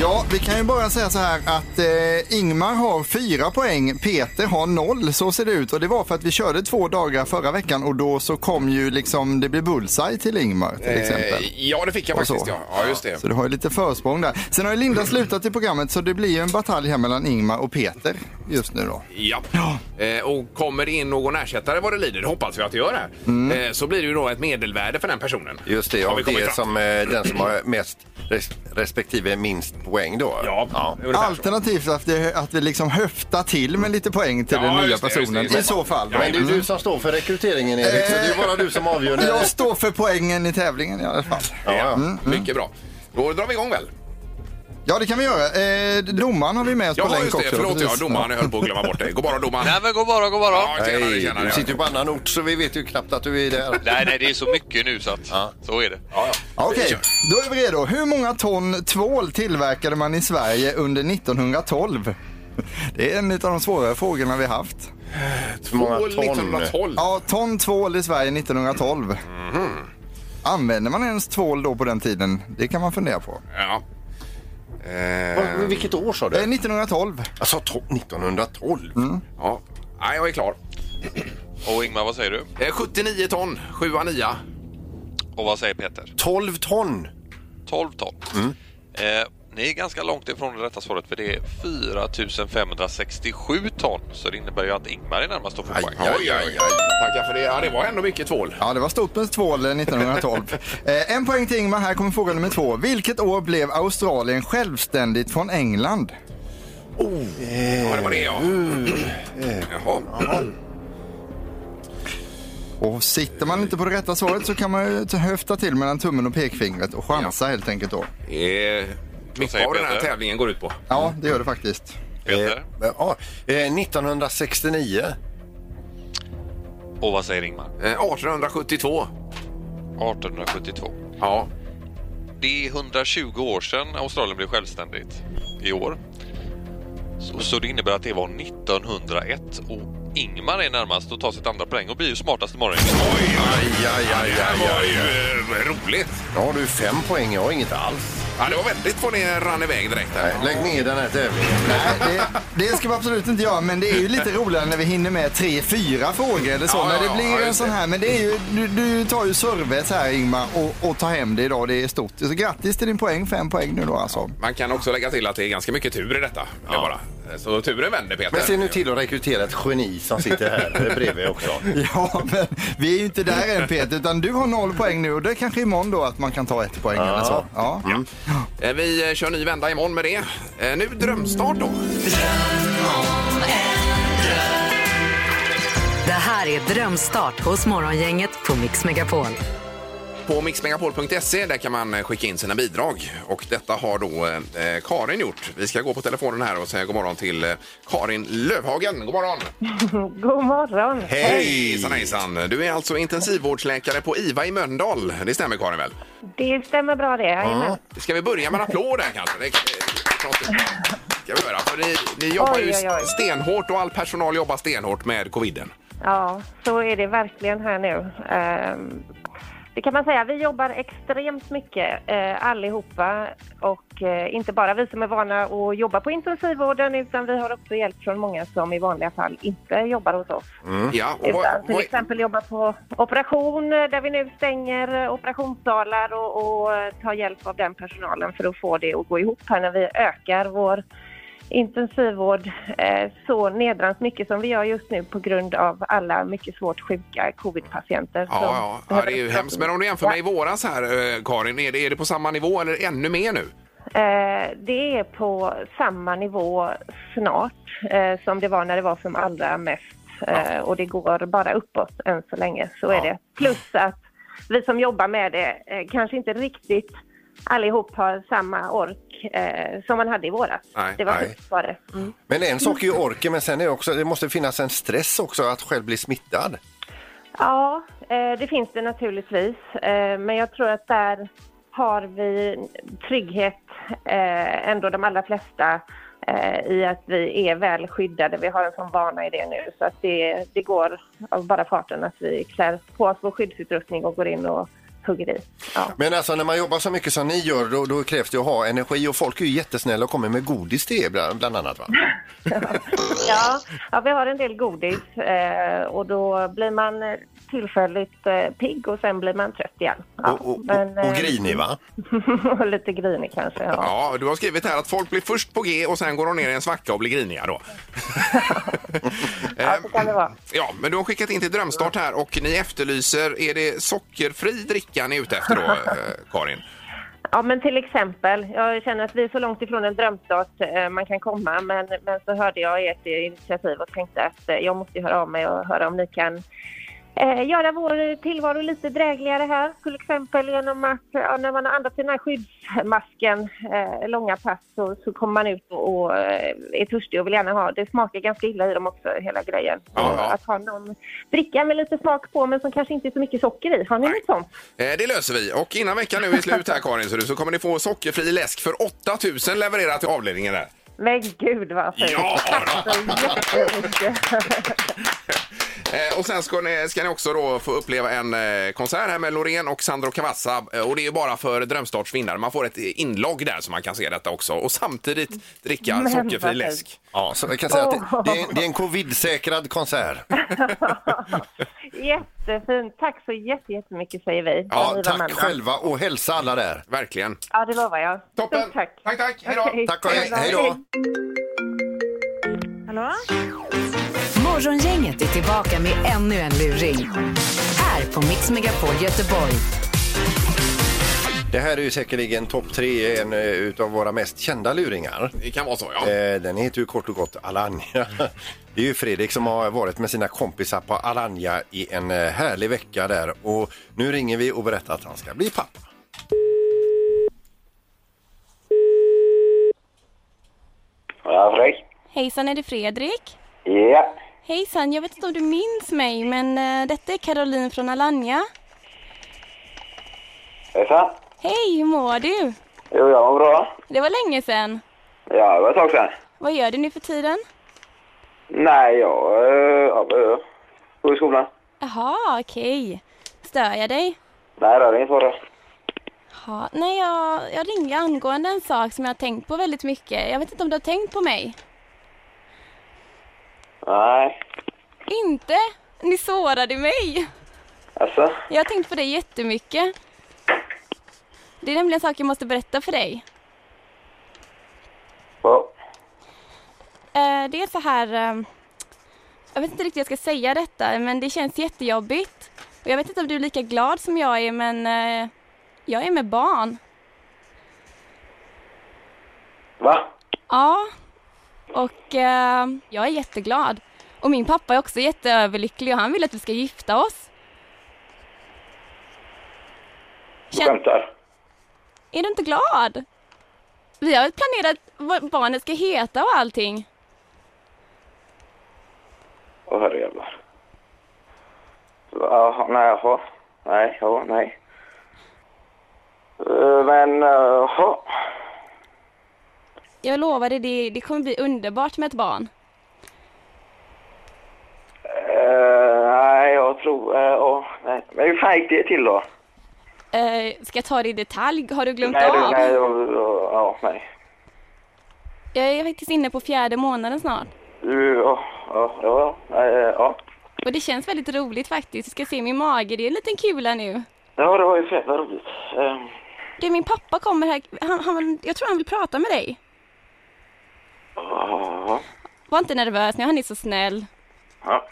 Speaker 6: Ja, vi kan ju bara säga så här att eh, Ingmar har fyra poäng, Peter har noll. Så ser det ut och det var för att vi körde två dagar förra veckan och då så kom ju liksom det blev bullseye till Ingmar till exempel.
Speaker 3: Eh, ja, det fick jag
Speaker 6: Och
Speaker 3: faktiskt.
Speaker 6: så.
Speaker 3: Ja. ja, just det.
Speaker 6: Så du har ju lite försprång där. Sen har ju Linda slutat i programmet så det blir ju en batalj här mellan Ingmar och Peter just nu då.
Speaker 3: Ja. Eh, och kommer det in någon ersättare vad det lider, det hoppas vi att det gör här, eh, så blir det ju då ett medelvärde för den personen.
Speaker 4: Just det,
Speaker 3: Har vi
Speaker 4: och
Speaker 3: kommit
Speaker 4: det är
Speaker 3: fram
Speaker 4: som eh, den som har mest res- respektive minst poäng då.
Speaker 3: Ja, ungefär så.
Speaker 6: Alternativt att, det, att vi liksom höftar till med lite poäng till
Speaker 3: Ja,
Speaker 6: den nya
Speaker 3: just det, just det,
Speaker 6: personen.
Speaker 3: just det.
Speaker 6: I så fall.
Speaker 3: Ja,
Speaker 4: Men det är ju du som står för rekryteringen Erik, så det är ju bara du som avgör. när-
Speaker 6: Jag står för poängen i tävlingen i alla fall.
Speaker 3: Ja, ja. Mycket bra. Då drar vi igång väl?
Speaker 6: Ja, det kan vi göra. Eh, domaren har vi med oss på
Speaker 3: Ja,
Speaker 6: länk
Speaker 3: just det.
Speaker 6: också.
Speaker 3: Förlåt, ja,
Speaker 6: precis.
Speaker 3: domaren. Jag höll på att glömma bort dig. God morgon, domaren.
Speaker 5: Nej men god morgon, god morgon.
Speaker 3: Ja, tjenare,
Speaker 4: Nej,
Speaker 3: tjenare.
Speaker 4: du sitter ju på annan ort så vi vet ju knappt att du är där.
Speaker 5: Nej, nej, det är så mycket nu så att
Speaker 4: Ja.
Speaker 5: så är det.
Speaker 3: Ja, ja.
Speaker 6: Ja, Okej,
Speaker 3: Kör.
Speaker 6: då är vi redo. Hur många ton tvål tillverkade man i Sverige under 1912? Det är en av de svårare frågorna vi haft.
Speaker 4: Hur många
Speaker 3: Tvål
Speaker 4: ton?
Speaker 3: 1912.
Speaker 6: Ja, ton tvål i Sverige 1912.
Speaker 3: Mhm.
Speaker 6: Använde man ens tvål då på den tiden? Det kan man fundera på.
Speaker 3: Ja. Eh,
Speaker 4: Vad- Vilket år sa
Speaker 6: Eh,
Speaker 4: du? Mm.
Speaker 6: 1912.
Speaker 4: Alltså to- 1912?
Speaker 3: ja. Nej, jag är klar.
Speaker 5: Och Ingmar, vad säger du?
Speaker 3: Eh, 79 ton, 7 9.
Speaker 5: Och vad säger Peter?
Speaker 4: 12 ton!
Speaker 5: 12 ton. Eh, ni är ganska långt ifrån det rätta svaret för det är 4567 ton. Så det innebär ju att Ingmar är närmast att få poäng.
Speaker 4: aj,
Speaker 3: Oj, oj, oj. Tackar för det. Ja, det var ändå mycket tvål.
Speaker 6: Ja, det var stort med tvål eh, 1912. eh, en poäng till Ingmar. Här kommer fråga nummer två. Vilket år blev Australien självständigt från England?
Speaker 3: Ja, det var
Speaker 4: Eh,
Speaker 3: det, ja. Jaha.
Speaker 6: Och sitter man inte på det rätta svaret så kan man ju t- höfta till mellan tummen och pekfingret och chansa helt enkelt då.
Speaker 3: Eh, mycket
Speaker 5: säger
Speaker 3: av den här
Speaker 5: Peter?
Speaker 3: tävlingen går ut på.
Speaker 6: Ja, det gör det faktiskt.
Speaker 5: Peter?
Speaker 4: Men, ja, eh, 1969.
Speaker 5: Och vad säger Ingmar?
Speaker 3: Eh, 1872.
Speaker 5: 1872.
Speaker 3: Ja.
Speaker 5: Det är 120 år sedan Australien blev självständigt i år. Så, så det innebär att det var 1901 och
Speaker 10: Ingmar är närmast och tar sitt andra poäng och blir ju smartast imorgon.
Speaker 3: Oj,
Speaker 4: Aj, aj, aj,
Speaker 3: Det
Speaker 4: aj,
Speaker 3: här var
Speaker 4: aj.
Speaker 3: ju eh, roligt.
Speaker 4: Nu har du fem poäng, jag har inget alls.
Speaker 3: Ja, det var väldigt vad ni rann iväg direkt
Speaker 4: Nej,
Speaker 3: där.
Speaker 4: lägg ner den här tävlingen.
Speaker 6: Nej, det, det ska vi absolut inte göra, men det är ju lite roligare när vi hinner med tre, fyra frågor eller så.
Speaker 3: Ja, ja,
Speaker 6: när
Speaker 3: ja,
Speaker 6: det blir
Speaker 3: ja,
Speaker 6: en
Speaker 3: just
Speaker 6: sån
Speaker 3: det.
Speaker 6: här. Men det är ju, du, du tar ju servet här Ingmar och, och tar hem det idag. Det är stort. Så grattis till din poäng, fem poäng nu då alltså.
Speaker 3: Man kan också lägga till att det är ganska mycket tur i detta. Det är Bara. Så turen vänder Peter.
Speaker 4: Men se nu till att rekrytera ett geni som sitter här bredvid också.
Speaker 6: Ja, men vi är ju inte där än Peter, utan du har noll poäng nu och det är kanske imorgon då att man kan ta ett poäng eller så. Ja.
Speaker 3: Eh, Vi eh, kör ny vända imorgon med det. Eh, Nu drömstart då.
Speaker 2: Det här är Drömstart hos Morgongänget på Mix Megapol.
Speaker 3: På mixmegapol.se där kan man eh, skicka in sina bidrag. Och detta har då eh, Karin gjort. Vi ska gå på telefonen här och säga god morgon till eh, Karin Lövhagen. God morgon!
Speaker 7: God morgon.
Speaker 3: Hejsan hejsan! Du är alltså intensivvårdsläkare på IVA i Mölndal. Det stämmer Karin väl?
Speaker 7: Det stämmer bra det. Jajamän.
Speaker 3: Ska vi börja med en applåd här kanske? Det, det, ska vi göra. För ni, ni jobbar
Speaker 7: Oj,
Speaker 3: ju
Speaker 7: oj, oj.
Speaker 3: stenhårt och all personal jobbar stenhårt med coviden.
Speaker 7: Ja, så är det verkligen här nu. Ehm, Det kan man säga. Vi jobbar extremt mycket eh, allihopa och eh, inte bara vi som är vana att jobba på intensivvården utan vi har också hjälp från många som i vanliga fall inte jobbar hos oss.
Speaker 3: Ja, och vad-
Speaker 7: Utan till
Speaker 3: vad-
Speaker 7: exempel jobbar på operation eh, där vi nu stänger eh, operationssalar och, och eh, tar hjälp av den personalen för att få det att gå ihop här när vi ökar vår intensivvård eh, så nedrans mycket som vi gör just nu på grund av alla mycket svårt sjuka covid-patienter.
Speaker 3: Ja,
Speaker 7: som
Speaker 3: ja. ja,
Speaker 7: behöver
Speaker 3: det är ju
Speaker 7: operation.
Speaker 3: hemskt. Men om du jämför med i våras här, eh, Karin, är det, är det på samma nivå eller ännu mer nu?
Speaker 7: Eh, det är på samma nivå snart eh, som det var när det var som allra mest. Eh, och det går bara uppåt än så länge, så är det. Plus att vi som jobbar med det eh, kanske inte riktigt allihop har samma ork eh, som man hade i våras.
Speaker 3: Nej,
Speaker 7: det var
Speaker 4: nej.
Speaker 7: tufft var det. Mm.
Speaker 4: Men en sak är ju orken, men sen är det också, det måste finnas en stress också att själv bli smittad.
Speaker 7: Ja, eh, det finns det naturligtvis. Eh, Men jag tror att där har vi trygghet eh, ändå de allra flesta eh, i att vi är väl skyddade. Vi har en sån vana i det nu så att det, det går av bara farten att vi klär på oss vår skyddsutrustning och går in och hugger i. Ja.
Speaker 4: Men alltså när man jobbar så mycket som ni gör, då, då krävs det att ha energi och folk är ju jättesnälla och kommer med godis till er bland, bland annat va?
Speaker 7: Ja, ja, vi har en del godis eh, och då blir man eh, tillfälligt eh, pigg och sen blir man trött igen. Ja,
Speaker 4: och, och,
Speaker 7: men,
Speaker 4: och, och
Speaker 7: eh,
Speaker 4: grinig va?
Speaker 7: och lite grinig kanske. Ja.
Speaker 3: Ja, du har skrivit här att folk blir först på G och sen går de ner i en svacka och blir griniga då. Eh,
Speaker 7: ja, så kan det vara.
Speaker 3: Ja, men du har skickat in till Drömstart här och ni efterlyser, är det sockerfri dricka ni är ute efter då, eh, Karin?
Speaker 7: Ja, men till exempel. Jag känner att vi är så långt ifrån en drömstart eh, man kan komma. Men, men så hörde jag ert initiativ och tänkte att eh, jag måste ju höra av mig och höra om ni kan eh, göra vår tillvaro lite drägligare här. Till exempel genom att ja, när man har andats i den här skyddsmasken eh, långa pass så, så kommer man ut och, och eh, är törstig och vill gärna ha. Det smakar ganska illa i dem också, hela grejen.
Speaker 3: Ja, ja.
Speaker 7: Att ha någon dricka med lite smak på men som kanske inte är så mycket socker i. Har ni något sånt?
Speaker 3: Eh, Det löser vi. Och innan veckan nu är slut här Karin så, du, så kommer ni få sockerfri läsk för 8000 levererat till avdelningen där.
Speaker 7: Men gud vad fint!
Speaker 3: Ja,
Speaker 7: Tack så jättemycket!
Speaker 3: Eh, Och sen ska ni, ska ni också då få uppleva en eh, konsert här med Loreen och Sandro Cavazza. Eh, Och det är ju bara för Drömstarts vinnare. Man får ett inlogg där så man kan se detta också. Och samtidigt dricka
Speaker 7: Men vad
Speaker 3: sockerfri
Speaker 7: fint.
Speaker 3: läsk.
Speaker 4: Ja, så jag kan säga att det, det, är, det är en covid-säkrad konsert.
Speaker 7: Jättefint. Tack så jätte- jättemycket säger vi. Ni
Speaker 4: Ja,
Speaker 7: var
Speaker 4: tack
Speaker 7: med.
Speaker 4: själva och hälsa alla där.
Speaker 3: Verkligen.
Speaker 7: Ja, det lovar jag.
Speaker 3: Toppen.
Speaker 7: Stort tack.
Speaker 3: Tack, tack. Hej då.
Speaker 7: Okej.
Speaker 4: Tack och hej, hej då!
Speaker 8: Hallå?
Speaker 2: Morgongänget är tillbaka med ännu en luring. Här på Mix Megapol Göteborg.
Speaker 4: Det här är ju säkerligen topp tre, en eh, utav våra mest kända luringar.
Speaker 3: Det kan vara så, ja.
Speaker 4: Eh, Den heter ju kort och gott Alanya. Det är ju Fredrik som har varit med sina kompisar på Alanya i en eh, härlig vecka där. Och nu ringer vi och berättar att han ska bli pappa.
Speaker 1: Ja, Fredrik.
Speaker 8: Hejsan, är det Fredrik?
Speaker 1: Ja.
Speaker 8: Hejsan, jag vet inte om du minns mig, men eh, detta är Caroline från Alanya.
Speaker 1: Hejsan.
Speaker 8: Hej, hur mår du?
Speaker 1: Jo, jag mår bra.
Speaker 8: Det var länge sedan.
Speaker 1: Ja, det var ett tag sedan.
Speaker 8: Vad gör du nu för tiden?
Speaker 11: Nej, jag eh, ja, eh, går i skolan.
Speaker 8: Jaha, okej. Stör jag dig?
Speaker 11: Nej, det är inget fara.
Speaker 8: Ja, nej, jag, jag ringde angående en sak som jag har tänkt på väldigt mycket. Jag vet inte om du har tänkt på mig?
Speaker 11: Nej,
Speaker 8: Inte? Ni sårade mig!
Speaker 11: alltså.
Speaker 8: Jag har tänkt på dig jättemycket. Det är nämligen en sak jag måste berätta för dig.
Speaker 11: Ja.
Speaker 8: Eh, Det är så här... eh, Jag vet inte riktigt hur jag ska säga detta, men det känns jättejobbigt. Och jag vet inte om du är lika glad som jag är, men eh, jag är med barn.
Speaker 11: Va?
Speaker 8: Ja, och eh, jag är jätteglad. Och min pappa är också jätteöverlycklig och han vill att vi ska gifta oss.
Speaker 11: Du skämtar?
Speaker 8: Är du inte glad? Vi har väl planerat vad barnet ska heta och allting.
Speaker 11: Åh, herrejävlar. Jaha, nej, jaha. Nej, ja, nej. Eh, Men, eh, jaha.
Speaker 8: Jag lovar dig, det, det kommer bli underbart med ett barn.
Speaker 11: Eh, nej, jag tror... eh, ja, nej. Men hur fan gick det till då?
Speaker 8: Eh, ska jag ta det i detalj? Har du glömt
Speaker 11: nej,
Speaker 8: av?
Speaker 11: du, nej, jag, jag, ja, nej.
Speaker 8: Jag är faktiskt inne på fjärde månaden snart.
Speaker 11: Du, ja, ja, ja, nej, eh, ja.
Speaker 8: Och det känns väldigt roligt faktiskt. Du ska se min mage, det är en liten kula nu.
Speaker 11: Ja, det var ju för jävla roligt. Eh,
Speaker 8: Du, min pappa kommer här. Han, han, jag tror han vill prata med dig.
Speaker 11: ja,
Speaker 8: Var inte nervös nu, han är så snäll.
Speaker 11: ja.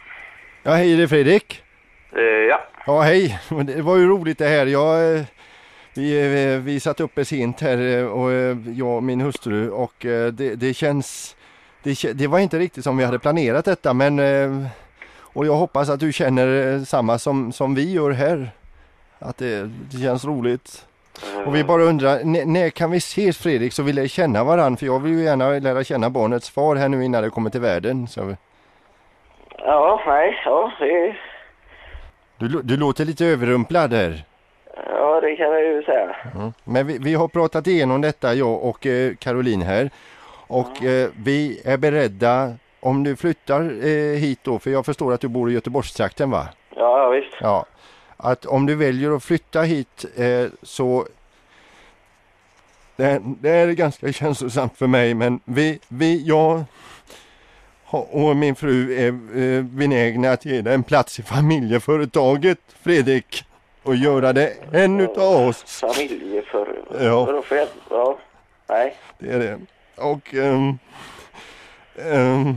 Speaker 12: Ja, hej det är Fredrik.
Speaker 11: Eh, ja.
Speaker 12: Ja, hej. Det var ju roligt det här. Jag, eh, vi, eh, vi satt uppe sent här, eh, och eh, jag och min hustru, och eh, det, det känns... Det, kä- det var inte riktigt som vi hade planerat detta, men... eh, Och jag hoppas att du känner eh, samma som, som vi gör här. Att det, det känns roligt. Och vi bara undrar, n- när kan vi ses Fredrik så vi lär känna varandra? För jag vill ju gärna lära känna barnets far här nu innan det kommer till världen. Så.
Speaker 11: Ja, nej, ja, det,
Speaker 12: Du, lå- du låter lite överrumplad här.
Speaker 11: ja, det kan jag ju säga.
Speaker 12: Mm. Men vi, vi har pratat igenom detta, jag och eh, Caroline här. Och eh, vi är beredda, om du flyttar eh, hit då, för jag förstår att du bor i Göteborgstrakten va?
Speaker 11: Ja, ja, visst.
Speaker 12: Ja. Att om du väljer att flytta hit eh, så... Det, här- det här är ganska känslosamt för mig men vi, vi jag och min fru är eh, benägna att ge dig en plats i familjeföretaget Fredrik. Och göra det en utav oss.
Speaker 11: Familjeför...
Speaker 12: Ja.
Speaker 11: Vadå för jävla... Ja, nej.
Speaker 12: Det är det. Och ehm, ehm,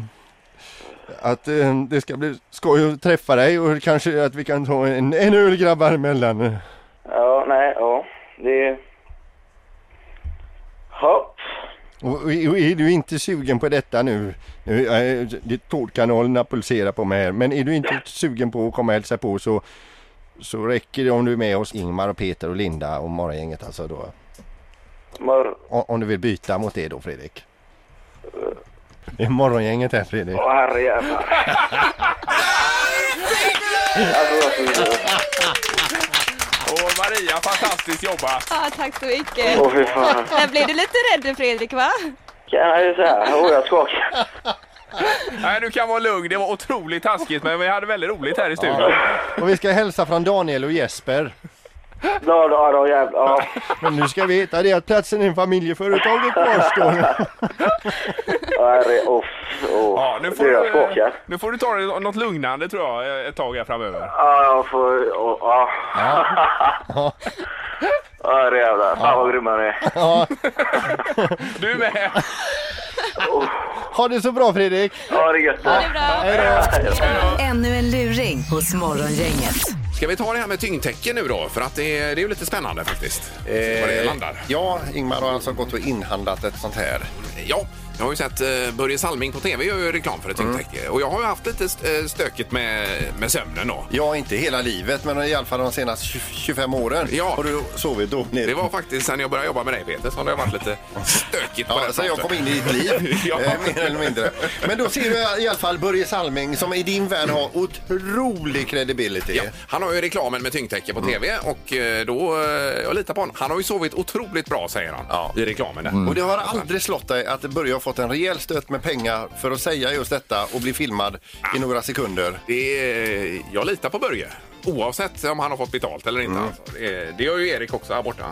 Speaker 12: att ehm, det ska bli skoj att träffa dig och kanske att vi kan ta en, en öl grabbar emellan.
Speaker 11: Ja, nej, ja. Det... Ja,
Speaker 12: Och, och är du inte sugen på detta nu, nu eh, det- tårtkanalerna pulserar på mig här, men är du inte sugen på att komma och hälsa på så, så räcker det om du är med oss Ingmar och Peter och Linda och morgongänget alltså då.
Speaker 11: mör...
Speaker 12: O- Om du vill byta mot det då Fredrik. Det är morgongänget här Fredrik.
Speaker 11: Åh, herrejävlar. Alltså, alltså,
Speaker 3: Åh Maria, fantastiskt jobbat!
Speaker 8: Ja, tack så mycket.
Speaker 11: Åh, fy fan.
Speaker 8: Där blev du lite rädd Fredrik, va?
Speaker 11: kan jag ju säga. Åh, jag skakar.
Speaker 3: Nej, du kan vara lugn. Det var otroligt taskigt, men vi hade väldigt roligt här i studion.
Speaker 12: Och vi ska hälsa från Daniel och Jesper.
Speaker 11: Ja, då, då, jävlar. Ja.
Speaker 12: Men nu ska vi veta det att platsen i familjeföretaget kvarstår.
Speaker 11: Åh, herre... Åh, åh.
Speaker 3: Ja, nu får,
Speaker 11: du, jag
Speaker 3: du,
Speaker 11: skakar.
Speaker 3: eh, nu får du ta dig något lugnande tror jag eh, ett tag här framöver.
Speaker 11: Ja, jag får... åh, Ja.
Speaker 12: Ja.
Speaker 11: Åh, herrejävlar. Fan vad grymma ni är.
Speaker 12: Ja.
Speaker 3: Du med!
Speaker 12: Ha det så bra Fredrik!
Speaker 11: Ja, det är gött.
Speaker 12: Ha det
Speaker 8: bra!
Speaker 2: Ännu en luring hos Morgongänget.
Speaker 3: Ska vi ta det här med tyngdtecken nu då? För att det är, det är ju lite spännande faktiskt. Var
Speaker 4: Eh.
Speaker 3: det landar.
Speaker 4: Ja, Ingmar har alltså gått och inhandlat ett sånt här.
Speaker 3: Ja, jag har ju sett eh, Börje Salming på tv gör ju reklam för ett
Speaker 4: Mm.
Speaker 3: tyngdtäcke. Och jag har ju haft lite eh, stökigt med, med sömnen då.
Speaker 4: Ja, inte hela livet, men i alla fall de senaste 20 25 åren
Speaker 3: Ja.
Speaker 4: har du sovit dåligt.
Speaker 3: Det var faktiskt sen jag började jobba med dig Peter som det har varit lite stökigt på
Speaker 4: Ja,
Speaker 3: den
Speaker 4: så jag
Speaker 3: fronten.
Speaker 4: kom in i ditt liv,
Speaker 3: ja.
Speaker 4: eh, mer eller mindre. Men då ser du i alla fall Börje Salming som i din värld har otrolig credibility.
Speaker 3: Ja, han har ju var ju reklamen med tyngdtäcke på tv och eh, då, eh, jag litar på honom. Han har ju sovit otroligt bra säger han i reklamen. Där.
Speaker 4: Och det har aldrig slått dig att Börje har fått en rejäl stöt med pengar för att säga just detta och bli filmad
Speaker 3: Ah.
Speaker 4: i några sekunder?
Speaker 3: Det är, jag litar på Börje. Oavsett om han har fått betalt eller inte. Alltså. Det, det gör ju Erik också här borta.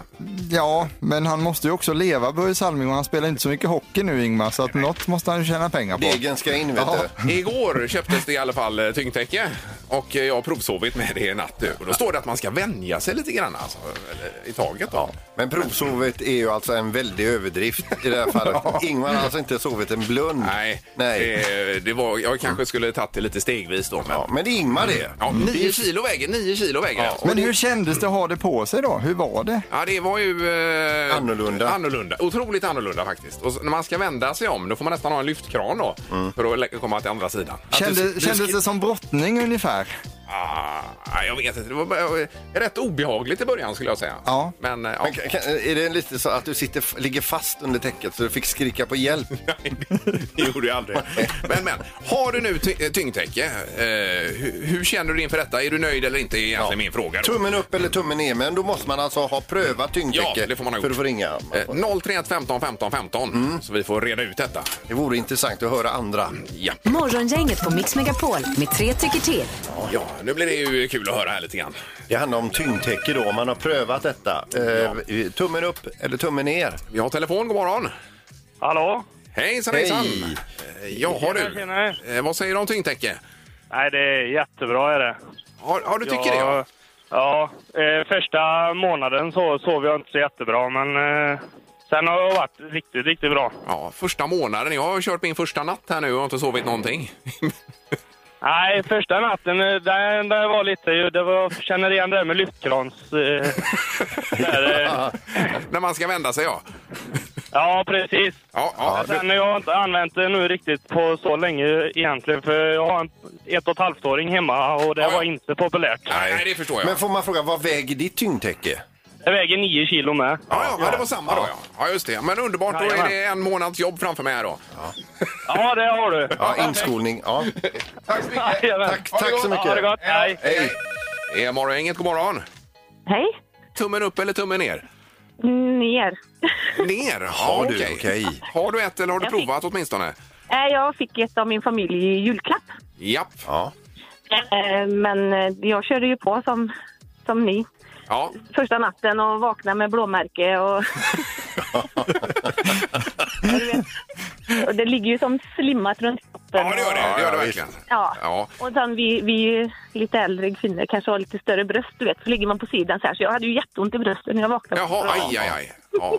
Speaker 6: Ja, men han måste ju också leva Börje Salming och han spelar inte så mycket hockey nu Ingmar så att något måste han ju tjäna pengar på.
Speaker 4: Degen ska in
Speaker 3: Ja. Eh, Igår köptes det i alla fall eh, tyngdtäcke och eh, jag har provsovit med det i natt. nu. Och då står det att man ska vänja sig lite grann alltså, eller i taget. Då.
Speaker 4: Men provsovet är ju alltså en väldig överdrift i det här fallet. Ingvar har alltså inte sovit en blund. Nej,
Speaker 3: Det, det var, jag kanske skulle tagit det lite stegvis då. Men, Mm. ja,
Speaker 4: men det är Ingmar det.
Speaker 3: Ja, nio kilo väger, nio kilo väger alltså.
Speaker 6: Men hur kändes det att ha det på sig då? Hur var det?
Speaker 3: Ja, det var ju... Eh, annorlunda. annorlunda. Otroligt annorlunda faktiskt. Och så, när man ska vända sig om, då får man nästan ha en lyftkran då för att lä- komma till andra sidan.
Speaker 6: Kände, kändes det som brottning ungefär?
Speaker 3: Ah, nej, jag vet inte. Det var bara- eh, rätt obehagligt i början skulle jag säga. Ja. Men, eh, ja.
Speaker 4: Men kan, kan- är det lite så att du sitter, f- ligger fast under täcket så du fick skrika på hjälp?
Speaker 3: Det gjorde jag aldrig. Men, men, har du nu ty- eh, tyngdtäcke, eh, hur, hur känner du inför detta? Är du nöjd eller inte? är egentligen min fråga. Då.
Speaker 4: Tummen upp eller tummen ner, men då måste man alltså ha prövat tyngdtäcke
Speaker 3: Ja, det får man ha
Speaker 4: för
Speaker 3: gjort.
Speaker 4: att få ringa.
Speaker 3: Eh, 031 15 15 15, så vi får reda ut detta.
Speaker 4: Det vore intressant att höra andra.
Speaker 3: Ja.
Speaker 2: Morgongänget på Mix Megapol med tre tycker till.
Speaker 3: ja, nu blir det ju kul att höra här lite grann.
Speaker 4: Det handlar om tyngdtäcke då, om man har prövat detta. Eh, Tummen upp eller tummen ner?
Speaker 3: Vi har telefon, god morgon.
Speaker 13: Hallå?
Speaker 3: Hejsan,
Speaker 4: Hej.
Speaker 3: hejsan! Eh, Jaha
Speaker 13: Tjena,
Speaker 3: du, eh, vad säger du om tyngdtäcke?
Speaker 13: Nej, det är jättebra är det.
Speaker 3: Ja, ja, du tycker det, ja.
Speaker 13: Ja, eh, första månaden så sov jag inte så jättebra, men eh, sen har det varit riktigt, riktigt bra.
Speaker 3: Ja, första månaden. Jag har kört min första natt här nu och har inte sovit någonting.
Speaker 13: Nej, första natten, eh, där, där var lite ju, det var, jag känner igen det där med lyftkrans... Eh, där, eh.
Speaker 3: När man ska vända sig, ja.
Speaker 13: Ja, precis.
Speaker 3: Ja,
Speaker 13: Men sen har jag inte använt det nu riktigt på så länge egentligen, för jag har en ett och ett halvt-åring hemma och det var inte populärt.
Speaker 3: Nej, det förstår
Speaker 4: Men får man fråga, vad väger ditt tyngdtäcke?
Speaker 13: Det väger nio kilo med.
Speaker 3: Ja, ja, men det var samma då. Ja, ja just det. Men underbart, då är
Speaker 13: Jajamän.
Speaker 3: det en månads jobb framför mig här då.
Speaker 13: Ja, det har du.
Speaker 4: Ja, inskolning. Ja.
Speaker 3: Tack så mycket.
Speaker 4: Tack, tack så mycket.
Speaker 13: Ha det gott. Hej.
Speaker 4: Hej.
Speaker 3: Det är Morgongänget, god morgon.
Speaker 14: Hej.
Speaker 3: Tummen upp eller tummen ner?
Speaker 14: Ner.
Speaker 3: Ner?
Speaker 4: Har du? Okej.
Speaker 3: Har du ett eller har du
Speaker 14: Jag fick-
Speaker 3: provat åtminstone?
Speaker 14: Eh, Jag fick ett av min familj i julklapp.
Speaker 3: Japp.
Speaker 4: Ja.
Speaker 14: Eh, Men eh, jag körde ju på som, som ni.
Speaker 3: Ja.
Speaker 14: Första natten och vaknade med blåmärke och... Ja, du vet. och det ligger ju som slimmat runt kroppen.
Speaker 3: Ja, det gör det. Det gör det verkligen.
Speaker 14: Ja.
Speaker 3: Ja.
Speaker 14: Och sen vi, vi lite äldre kvinnor kanske har lite större bröst, du vet. Så ligger man på sidan så här. Så jag hade ju jätteont i bröstet när jag vaknade.
Speaker 3: Jaha, aj, aj, aj.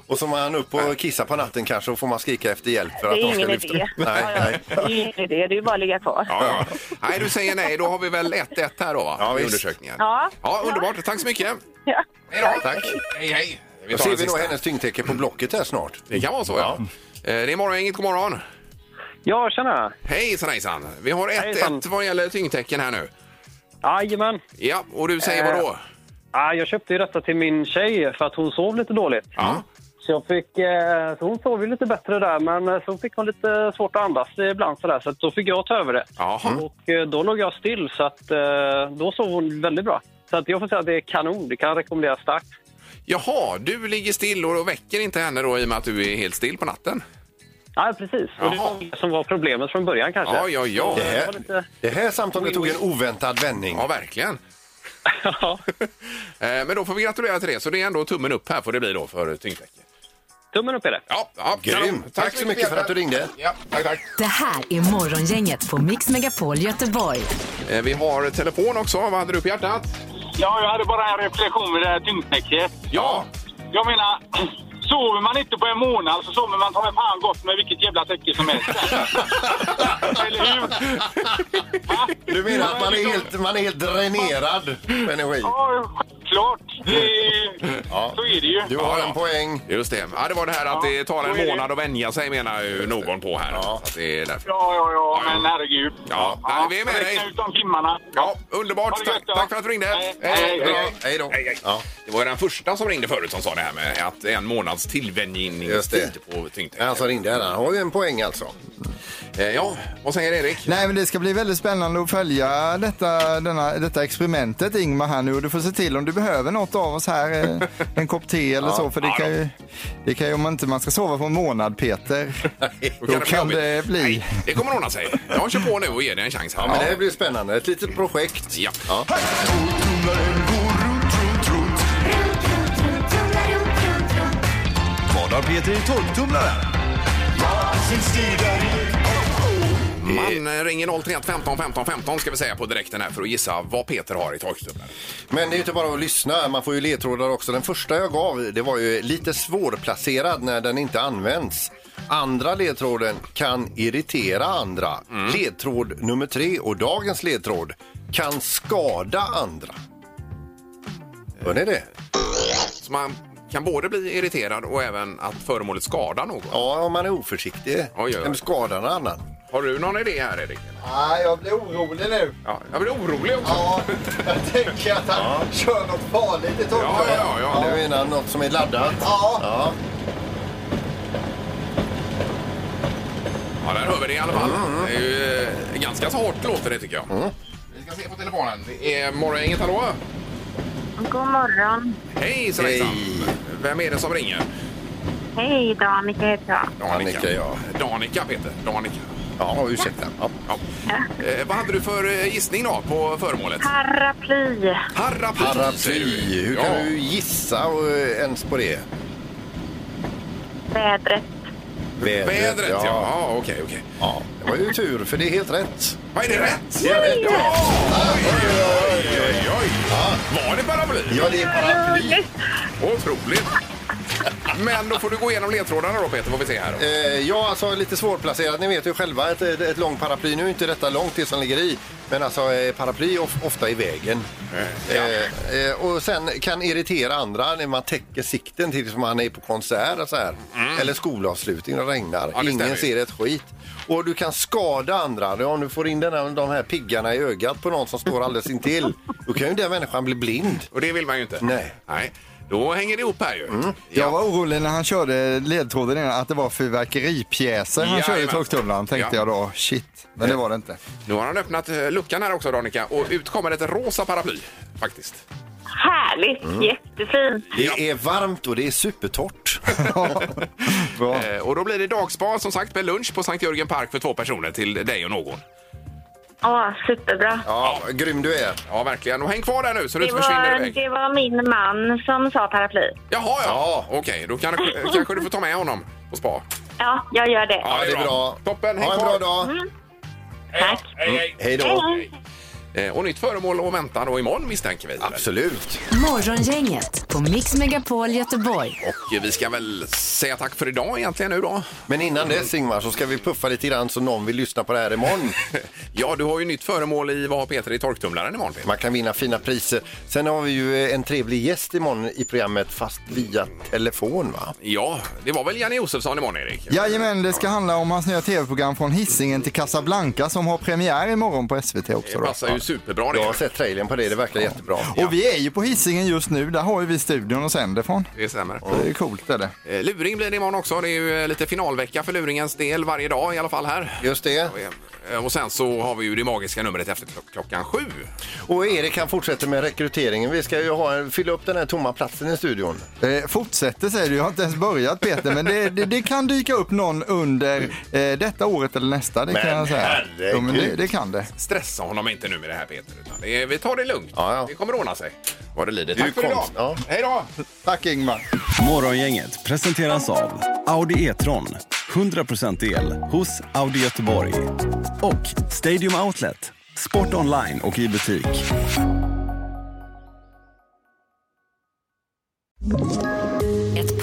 Speaker 4: Och så var han upp och kissa på natten kanske och får man skrika efter hjälp för
Speaker 14: Det
Speaker 4: att
Speaker 14: är
Speaker 4: de ska
Speaker 14: ingen
Speaker 4: lyfta.
Speaker 14: idé.
Speaker 4: Nej, nej.
Speaker 14: Det är ju ingen idé, det är ju bara att ligga kvar.
Speaker 3: Ja, ja. Nej, du säger nej. Då har vi väl 1-1 här då, va? Ja, I undersökningen.
Speaker 14: Ja.
Speaker 3: Ja, underbart. Tack så mycket.
Speaker 14: Ja.
Speaker 3: Hej då. Tack. Hej, hej.
Speaker 4: Då
Speaker 3: tar
Speaker 4: ser
Speaker 3: den
Speaker 4: vi nog
Speaker 3: sista.
Speaker 4: hennes tyngdtäcke på Blocket här snart.
Speaker 3: Det kan vara så, ja. Eh, Det är Morgongänget, god morgon.
Speaker 13: Ja, tjena.
Speaker 3: Hejsan, hejsan. Vi har 1-1 vad gäller tyngdtecken här nu.
Speaker 13: Jajamän.
Speaker 3: Ja, och du säger
Speaker 13: Eh,
Speaker 3: vadå?
Speaker 13: Ja, jag köpte ju detta till min tjej för att hon sov lite dåligt.
Speaker 3: Mm.
Speaker 13: Så, jag fick, eh, så hon sov ju lite bättre där, men eh, så fick hon lite svårt att andas ibland så, där, så att då fick jag ta över det. Och eh, då låg jag still, så att, eh, då sov hon väldigt bra. Så att jag får säga att det är kanon, det kan jag rekommendera starkt.
Speaker 3: Jaha, du ligger still och väcker inte henne då i och med att du är helt still på natten?
Speaker 13: Ja, precis. Och det var det som var problemet från början kanske.
Speaker 3: Ja, ja, ja.
Speaker 13: Så det var lite-
Speaker 4: Det här samtalet tog en oväntad vändning.
Speaker 3: Ja, verkligen. Eh, Men då får vi gratulera till det. Så det är ändå tummen upp här får det bli då för tyngdtecken.
Speaker 13: Tummen upp är det.
Speaker 3: Ja, ja
Speaker 4: Grym.
Speaker 3: kanon.
Speaker 4: Tack så mycket för att du ringde.
Speaker 3: Ja, tack, tack.
Speaker 2: Det här är Morgongänget på Mix Megapol Göteborg.
Speaker 3: Eh, Vi har telefon också. Vad hade du på hjärtat?
Speaker 15: Ja, jag hade bara en reflektion vid det här tyngdtäcket.
Speaker 3: Ja.
Speaker 15: Jag menar, sover man inte på en månad så sover man ta mig fan gott med vilket jävla täcke som helst. Eller hur?
Speaker 4: Du menar att man är helt, man är helt dränerad på energi?
Speaker 15: Ja, självklart. Det-
Speaker 4: Ja.
Speaker 15: Så är det ju.
Speaker 4: Du har en poäng.
Speaker 3: Just det. Ja, det var det här att
Speaker 15: Ja,
Speaker 3: det tar
Speaker 15: så är
Speaker 3: en
Speaker 15: det.
Speaker 3: månad att vänja sig menar ju någon på här. Ja. Att det är därför.
Speaker 15: Ja, ja, ja, men herregud.
Speaker 3: Ja, nej, vi är med
Speaker 15: Räkna
Speaker 3: dig.
Speaker 15: ut de timmarna.
Speaker 3: Ja, underbart. Tack, tack för att du ringde. Hej,
Speaker 15: hej, hej.
Speaker 4: Hej då.
Speaker 3: Det var ju den första som ringde förut som sa det här med att en månads tillvänjningstid på tyngdtecken.
Speaker 4: Han som ringde här, han har ju en poäng alltså.
Speaker 3: Eh, Ja, vad säger Erik?
Speaker 6: Nej, men det ska bli väldigt spännande att följa detta, denna, detta experimentet Ingmar här nu. Och du får se till om du behöver något av oss här, eh, en kopp te eller
Speaker 3: Ja.
Speaker 6: så. För det
Speaker 3: Ja,
Speaker 6: kan, ju, det kan ju, om inte man ska sova på en månad Peter, då
Speaker 3: bli
Speaker 6: kan
Speaker 3: jobbigt.
Speaker 6: det bli.
Speaker 3: Nej, det kommer ordna sig. Jag kör på nu och ger dig en chans. Här.
Speaker 4: Ja, men det blir spännande. Ett litet projekt.
Speaker 3: Ja.
Speaker 16: Vad har Peter i tolvtumlaren?
Speaker 3: Man eh, ringer 031 15 15 15 ska vi säga på direkten här för att gissa vad Peter har i torktumlaren.
Speaker 4: Men det är ju inte bara att lyssna, man får ju ledtrådar också. Den första jag gav, det var ju lite svårplacerad när den inte används. Andra ledtråden kan irritera andra. Ledtråd nummer tre och dagens ledtråd kan skada andra. Hör ni det?
Speaker 3: Så man kan både bli irriterad och även att föremålet skadar någon.
Speaker 4: Ja, om man är oförsiktig. Oj,
Speaker 3: oj, oj.
Speaker 4: Vem skadar någon annan?
Speaker 3: Har du någon idé här Erik?
Speaker 6: Nej, jag blir orolig nu.
Speaker 3: Ja, jag blir orolig också.
Speaker 6: Ja, jag tänker att han kör något farligt i
Speaker 3: Ja, ja, ja.
Speaker 4: Du menar något som är laddat?
Speaker 6: Ja.
Speaker 4: ja.
Speaker 3: Ja, där hör vi det i alla fall. Det är ju eh, ganska så hårt låter det tycker jag.
Speaker 16: Mm.
Speaker 3: Vi ska se på telefonen. Det är Morgongänget, hallå?
Speaker 17: God morgon.
Speaker 3: Hej Svejsan! Vem är det som ringer?
Speaker 17: Hej, Danica heter jag.
Speaker 3: Danica, ja. Danica, Peter. Danica.
Speaker 4: Ja, ursäkta. Ja.
Speaker 3: Eh, vad hade du för eh, gissning då på föremålet?
Speaker 17: Paraply.
Speaker 3: Paraply.
Speaker 4: Paraply. Hur kan du gissa eh, ens på det?
Speaker 17: Vädret.
Speaker 4: Vädret,
Speaker 3: Vädret, ja. Ja, okej, okej.
Speaker 4: Ja, det var ju tur, för det är helt rätt.
Speaker 3: Vad är det rätt?
Speaker 4: Det är rätt. Ja,
Speaker 3: Oj, oj, oj. Var det paraply?
Speaker 4: Ja, det är paraply.
Speaker 3: Otroligt. Men då får du gå igenom ledtrådarna då Peter, får vi se här. då.
Speaker 4: Eh, ja, alltså lite svårplacerat. Ni vet ju själva, ett, ett långt paraply. Nu är inte detta långt, det som ligger i. Men alltså, eh, paraply är of, ofta i vägen. Eh, eh, och sen kan irritera andra när man täcker sikten tills man är på konsert och så här. Eller skolavslutning och det regnar.
Speaker 3: Mm. Ja, det stämmer
Speaker 4: Ingen
Speaker 3: ju.
Speaker 4: ser ett skit. Och du kan skada andra. Om du får in den här, de här piggarna i ögat på någon som står alldeles intill, då kan ju den människan bli blind.
Speaker 3: Och det vill man ju inte.
Speaker 4: Nej.
Speaker 3: Nej. Då hänger det ihop här ju.
Speaker 6: Jag var orolig när han körde ledtråden innan att det var fyrverkeripjäser han körde i
Speaker 3: Jajamän.
Speaker 6: torktumlaren. Tänkte
Speaker 3: Ja.
Speaker 6: jag då, shit. Men det var det inte.
Speaker 3: Nu har han öppnat eh, luckan här också Danica och ut kommer ett rosa paraply faktiskt.
Speaker 17: Härligt.
Speaker 4: Mm.
Speaker 17: Jättefint.
Speaker 4: Det är varmt och det är supertorrt.
Speaker 3: Eh, och då blir det dagspa som sagt med lunch på Sankt Jörgen Park för två personer till dig och någon.
Speaker 17: Ja, superbra.
Speaker 4: Ja, grym du är.
Speaker 3: Ja, verkligen. Och häng kvar där nu så du
Speaker 17: Det
Speaker 3: inte försvinner
Speaker 17: var,
Speaker 3: iväg.
Speaker 17: det var min man som sa paraply.
Speaker 3: Jaha, ja. Okej, då kan, kanske du får ta med honom på spa.
Speaker 17: Ja, jag gör det.
Speaker 3: Ja, det är bra. Toppen, häng
Speaker 17: Ha en bra
Speaker 3: kvar.
Speaker 17: dag. Mm.
Speaker 3: Tack. Hej, hej.
Speaker 4: Hej
Speaker 17: Hej,
Speaker 4: då.
Speaker 3: Eh, Och nytt föremål att vänta då imorgon misstänker vi.
Speaker 4: Absolut.
Speaker 2: Morgongänget på Mix Megapol Göteborg.
Speaker 3: Och vi ska väl säga tack för idag egentligen nu då.
Speaker 4: Men innan dess Ingmar så ska vi puffa lite grann så någon vill lyssna på det här imorgon.
Speaker 3: ja, du har ju nytt föremål i vad har Peter i torktumlaren imorgon Peter?
Speaker 4: Man kan vinna fina priser. Sen har vi ju eh, en trevlig gäst imorgon i programmet fast via telefon va?
Speaker 3: Ja, det var väl Janne Josefsson imorgon Erik?
Speaker 6: Jajamän, det ska handla om hans nya tv-program från Hisingen till Casablanca som har premiär imorgon på SVT också.
Speaker 3: Det
Speaker 6: Då.
Speaker 3: passar ju superbra det.
Speaker 4: Jag har sett trailern på det, det verkar jättebra.
Speaker 6: Och vi är ju på Hisingen just nu, där har ju vi studion och sänder från.
Speaker 3: Det stämmer.
Speaker 6: Det är coolt är det.
Speaker 3: Eh, Luring blir det imorgon också. Det är ju eh, lite finalvecka för luringens del varje dag i alla fall här.
Speaker 4: Just det.
Speaker 3: Eh, Och sen så har vi ju det magiska numret efter klock- klockan sju.
Speaker 4: Och Erik han fortsätter med rekryteringen. Vi ska ju ha, en- fylla upp den här tomma platsen i studion.
Speaker 6: Eh, fortsätter säger du, jag har inte ens börjat Peter, men det, det, det kan dyka upp någon under eh, detta året eller nästa. Det kan
Speaker 3: Men
Speaker 6: jag säga.
Speaker 3: herregud.
Speaker 6: men det, det kan det.
Speaker 3: Stressa honom inte nu med det här Peter. Utan det är, vi tar det lugnt. Det kommer ordna sig. Vad det lider.
Speaker 6: Det är
Speaker 3: Tack
Speaker 6: ju
Speaker 3: för idag.
Speaker 6: konst-
Speaker 3: Hej då!
Speaker 6: Tack Ingmar.
Speaker 16: Morgongänget presenteras av Audi E-tron. 100% el hos Audi Göteborg. Och Stadium Outlet. Sport online och i butik.
Speaker 18: Ett